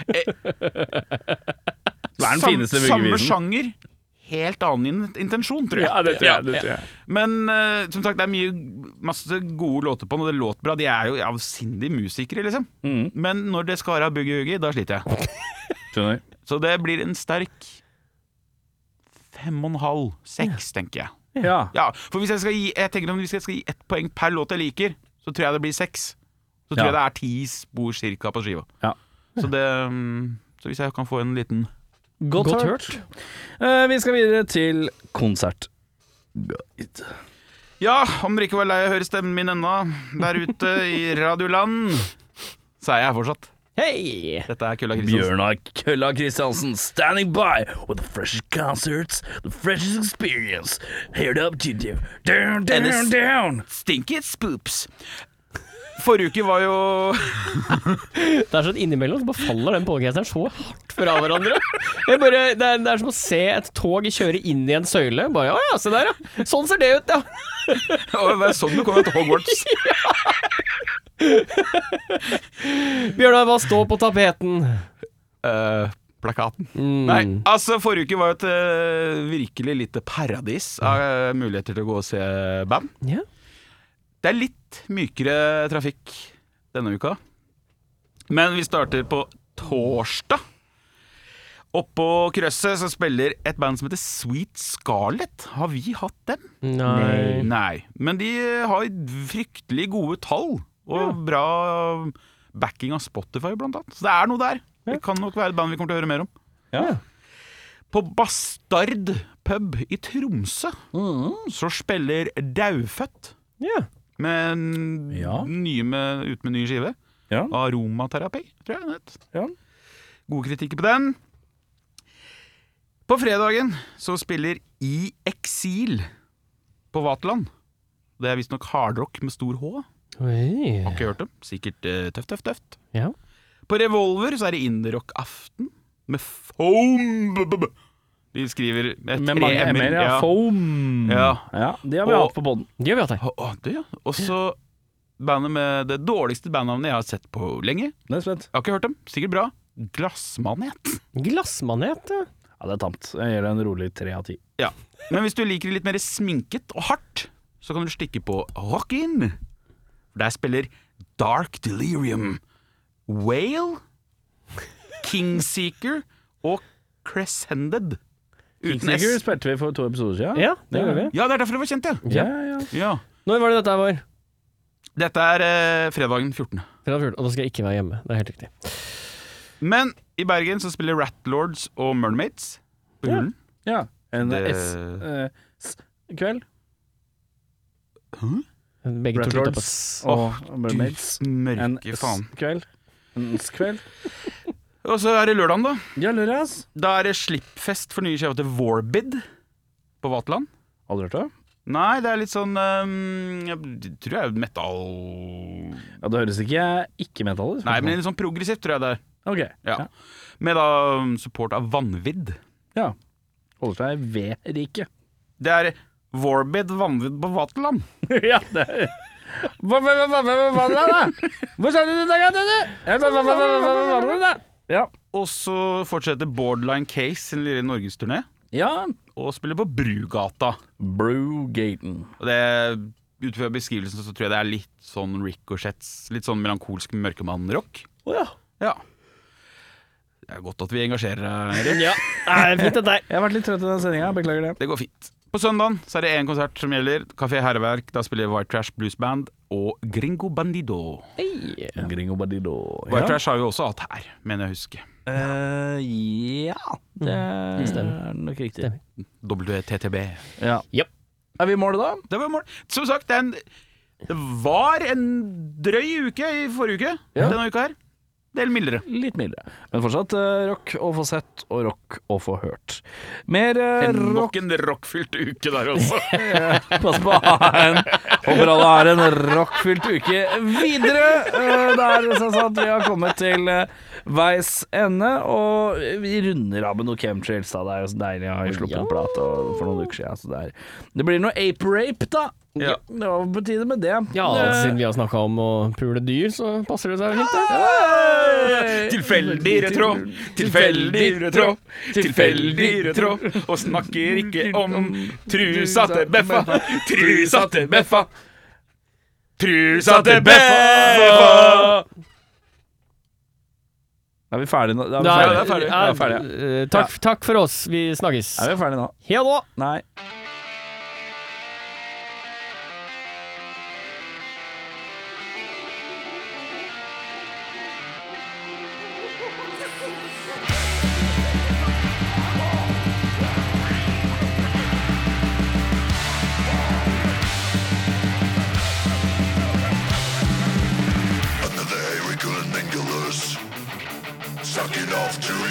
Speaker 1: Det er den
Speaker 2: Sam-
Speaker 1: fineste
Speaker 2: Samme
Speaker 1: vuggevisen.
Speaker 2: sjanger, helt annen in- intensjon, tror jeg.
Speaker 7: Ja, det tror jeg. Det tror jeg.
Speaker 2: Men eh, som sagt, det er mye, masse gode låter på den, og det låter bra. De er jo avsindige musikere, liksom.
Speaker 1: Mm.
Speaker 2: Men når det skal være boogie-woogie, da sliter jeg.
Speaker 1: Skjønner.
Speaker 2: Så det blir en sterk fem og en halv, seks, tenker jeg.
Speaker 1: Ja.
Speaker 2: Ja, for hvis jeg skal gi Jeg tenker om hvis jeg skal gi ett poeng per låt jeg liker, så tror jeg det blir seks. Så
Speaker 1: Ja.
Speaker 2: tror jeg det er ti spor cirka på skiva.
Speaker 1: Ja.
Speaker 2: Så det mm, Så hvis jeg kan få en liten
Speaker 1: Godt, hørt. Eh, vi skal videre til konsert.
Speaker 2: Ja, om dere ikke var lei av å høre stemmen min ennå, der ute i radioland, så er jeg her fortsatt.
Speaker 3: Hei!
Speaker 2: Dette er Kølla Kristiansen.
Speaker 1: Bjørnar Kølla Kristiansen standing by with the freshest concerts, the freshest experience. Heard up to you. Down, down,
Speaker 2: Dennis.
Speaker 1: down.
Speaker 2: Stinky spoops. Forrige uke var jo
Speaker 3: Det er sånn innimellom så bare faller den podkasteren så hardt fra hverandre. Jeg bare, det, er, det er som å se et tog kjøre inn i en søyle. Bare, Å ja, se der, ja. Sånn ser det ut, ja.
Speaker 2: Å, Det var sånn du kom til Hogwarts.
Speaker 3: Bjørnar, hva står på tapeten? Mm.
Speaker 2: Eh, plakaten. Nei, altså forrige uke var jo et eh, virkelig lite paradis av eh, muligheter til å gå og se band.
Speaker 3: Ja.
Speaker 2: Det er litt mykere trafikk denne uka. Men vi starter på torsdag. Oppå krøsset så spiller et band som heter Sweet Scarlet. Har vi hatt dem?
Speaker 3: Nei.
Speaker 2: Nei. Men de eh, har fryktelig gode tall, og bra backing av Spotify, blant annet. Så det er noe der. Det kan nok være et band vi kommer til å høre mer om. På Bastard pub i Tromsø
Speaker 1: Mm.
Speaker 2: så spiller Daufødt
Speaker 3: Ja.
Speaker 2: med en
Speaker 1: Ja.
Speaker 2: nye med, ut med ny skive.
Speaker 1: Ja.
Speaker 2: Aromaterapi, tror jeg den het.
Speaker 1: Ja.
Speaker 2: Gode kritikker på den. På fredagen så spiller I Eksil på Vaterland. Det er visstnok hardrock med stor H.
Speaker 3: Oi.
Speaker 2: Har ikke hørt dem. Sikkert eh, tøft, tøft, tøft.
Speaker 3: Ja.
Speaker 2: På Revolver så er det Indierock-aften med foam b- b- b- De skriver med
Speaker 1: Med mange
Speaker 2: M-er,
Speaker 1: M-er, ja. Foam.
Speaker 2: Ja.
Speaker 1: Ja, de har vi
Speaker 2: Og-
Speaker 1: hatt på bånn.
Speaker 3: Det gjør vi hatt her.
Speaker 2: Å, å, det, ja. Og så bandet med det dårligste bandnavnet jeg har sett på lenge. Jeg
Speaker 1: Det er spent.
Speaker 2: har ikke hørt dem, sikkert bra. Glassmanet.
Speaker 3: Glassmanet, ja.
Speaker 1: Ja, det er tamt. Jeg gir det en rolig tre av ti.
Speaker 2: Ja. Men hvis du liker det litt mer sminket og hardt, så kan du stikke på Rockin. Der spiller Dark Delirium, Whale, Kingseeker og Crescended. Uten S.
Speaker 1: Sikkert spilte vi for to episoder siden.
Speaker 3: Ja, det gjør vi.
Speaker 2: Ja, det er derfor det var kjent, ja.
Speaker 1: Ja, ja, ja.
Speaker 2: ja.
Speaker 3: Når var det dette her var?
Speaker 2: Dette er eh, fredagen 14.
Speaker 3: Fredag 14. Og da skal jeg ikke være hjemme. Det er helt riktig.
Speaker 2: Men i Bergen så spiller Ratlords og Mermaids på Hulen.
Speaker 1: ja. En eh,
Speaker 2: Det-
Speaker 1: S-kveld.
Speaker 3: Begge to slutter på
Speaker 1: Ratlords
Speaker 3: s.
Speaker 1: og
Speaker 2: Du
Speaker 1: Mermaids. En
Speaker 2: mørke faen.
Speaker 1: S-kveld. En S-kveld.
Speaker 2: Og så er det lørdagen, da.
Speaker 1: Ja, lurer ass.
Speaker 2: Da er det slippfest for nye skiva til Vorbid på Vaterland.
Speaker 1: Aldri hørt det?
Speaker 2: Nei, det er litt sånn ehm, Jeg tror jeg er metal
Speaker 1: Ja, det høres ikke ikke-metal ut.
Speaker 2: Nei, men litt sånn progressivt, tror jeg det er.
Speaker 1: Ok.
Speaker 2: Ja.
Speaker 1: Ja.
Speaker 2: Med da um, support av Vanvidd.
Speaker 1: ja. Holder seg ved riket.
Speaker 2: Det er Vorbid Vanvidd på Vaterland.
Speaker 1: ja, det er Hva hva- hva- hva- hva- hva- hva- hva- Hvor sa du det der, Tønne? Ja, hva- hva- hva- hva- hva- hva- hva- hva- Ja.
Speaker 2: Og så fortsetter Borderline Case sin lille norgesturné
Speaker 1: Ja.
Speaker 2: og spiller på Brugata.
Speaker 1: Brewgaten.
Speaker 2: Og det ut fra beskrivelsen så tror jeg det er litt sånn ricochets. Litt sånn melankolsk mørkemann-rock.
Speaker 3: Å ja.
Speaker 2: Ja. Det er godt at vi engasjerer deg, Erik.
Speaker 3: Ja, det er fint dette her.
Speaker 1: Jeg har vært litt trøtt i den sendinga, beklager det.
Speaker 2: Det går fint. På søndagen så er det én konsert som gjelder. Kafé Herreverk. Da spiller White Trash Blues Band og Gringo Bandido.
Speaker 1: Gringo Bandido.
Speaker 2: White Trash har vi også hatt her, mener jeg å huske.
Speaker 1: Eh, ja, Mm. det er nok riktig.
Speaker 3: Stemmer.
Speaker 2: WTTB.
Speaker 1: Ja.
Speaker 3: Japp.
Speaker 1: Er vi i mål, da?
Speaker 2: Det var mål. Som sagt, det, er en, det var en drøy uke i forrige uke. Denne uka her. Del mildere.
Speaker 1: Litt mildere. Men fortsatt eh, rock å få sett, og rock å få hørt. Mer eh, rock
Speaker 2: Nok en rockfylt uke der også.
Speaker 1: Pass på å ha en Håper alle har en rockfylt uke videre. Eh, Det er sånn at vi har kommet til eh, veis ende, og vi runder av med noe chemtrails. Da. Det er jo så deilig. Jeg har jo sluppet en plate og- for noen uker siden. Så det, er. det blir noe ape rape, da.
Speaker 2: Ja.
Speaker 1: Det var på tide med det. Eh,
Speaker 3: Ja,
Speaker 2: altså,
Speaker 3: siden vi har snakka om å pule dyr, så passer det seg jo fint, det.
Speaker 2: Tilfeldig rød tråd, tilfeldig rød tråd, tilfeldig rød tråd. Og snakker ikke om trusa til Beffa, trusa til Beffa. Trusa til Beffa!
Speaker 1: Er vi ferdige nå? Da
Speaker 3: Da
Speaker 1: er vi
Speaker 2: det er
Speaker 1: ferdige.
Speaker 2: ferdig.
Speaker 1: Ja, ferdig.
Speaker 3: eh, Takk, takk for oss. Vi snakkes.
Speaker 1: Er vi ferdige nå?
Speaker 3: Ha det!
Speaker 1: Nei.
Speaker 8: Another hurricane and anglers Sucking off to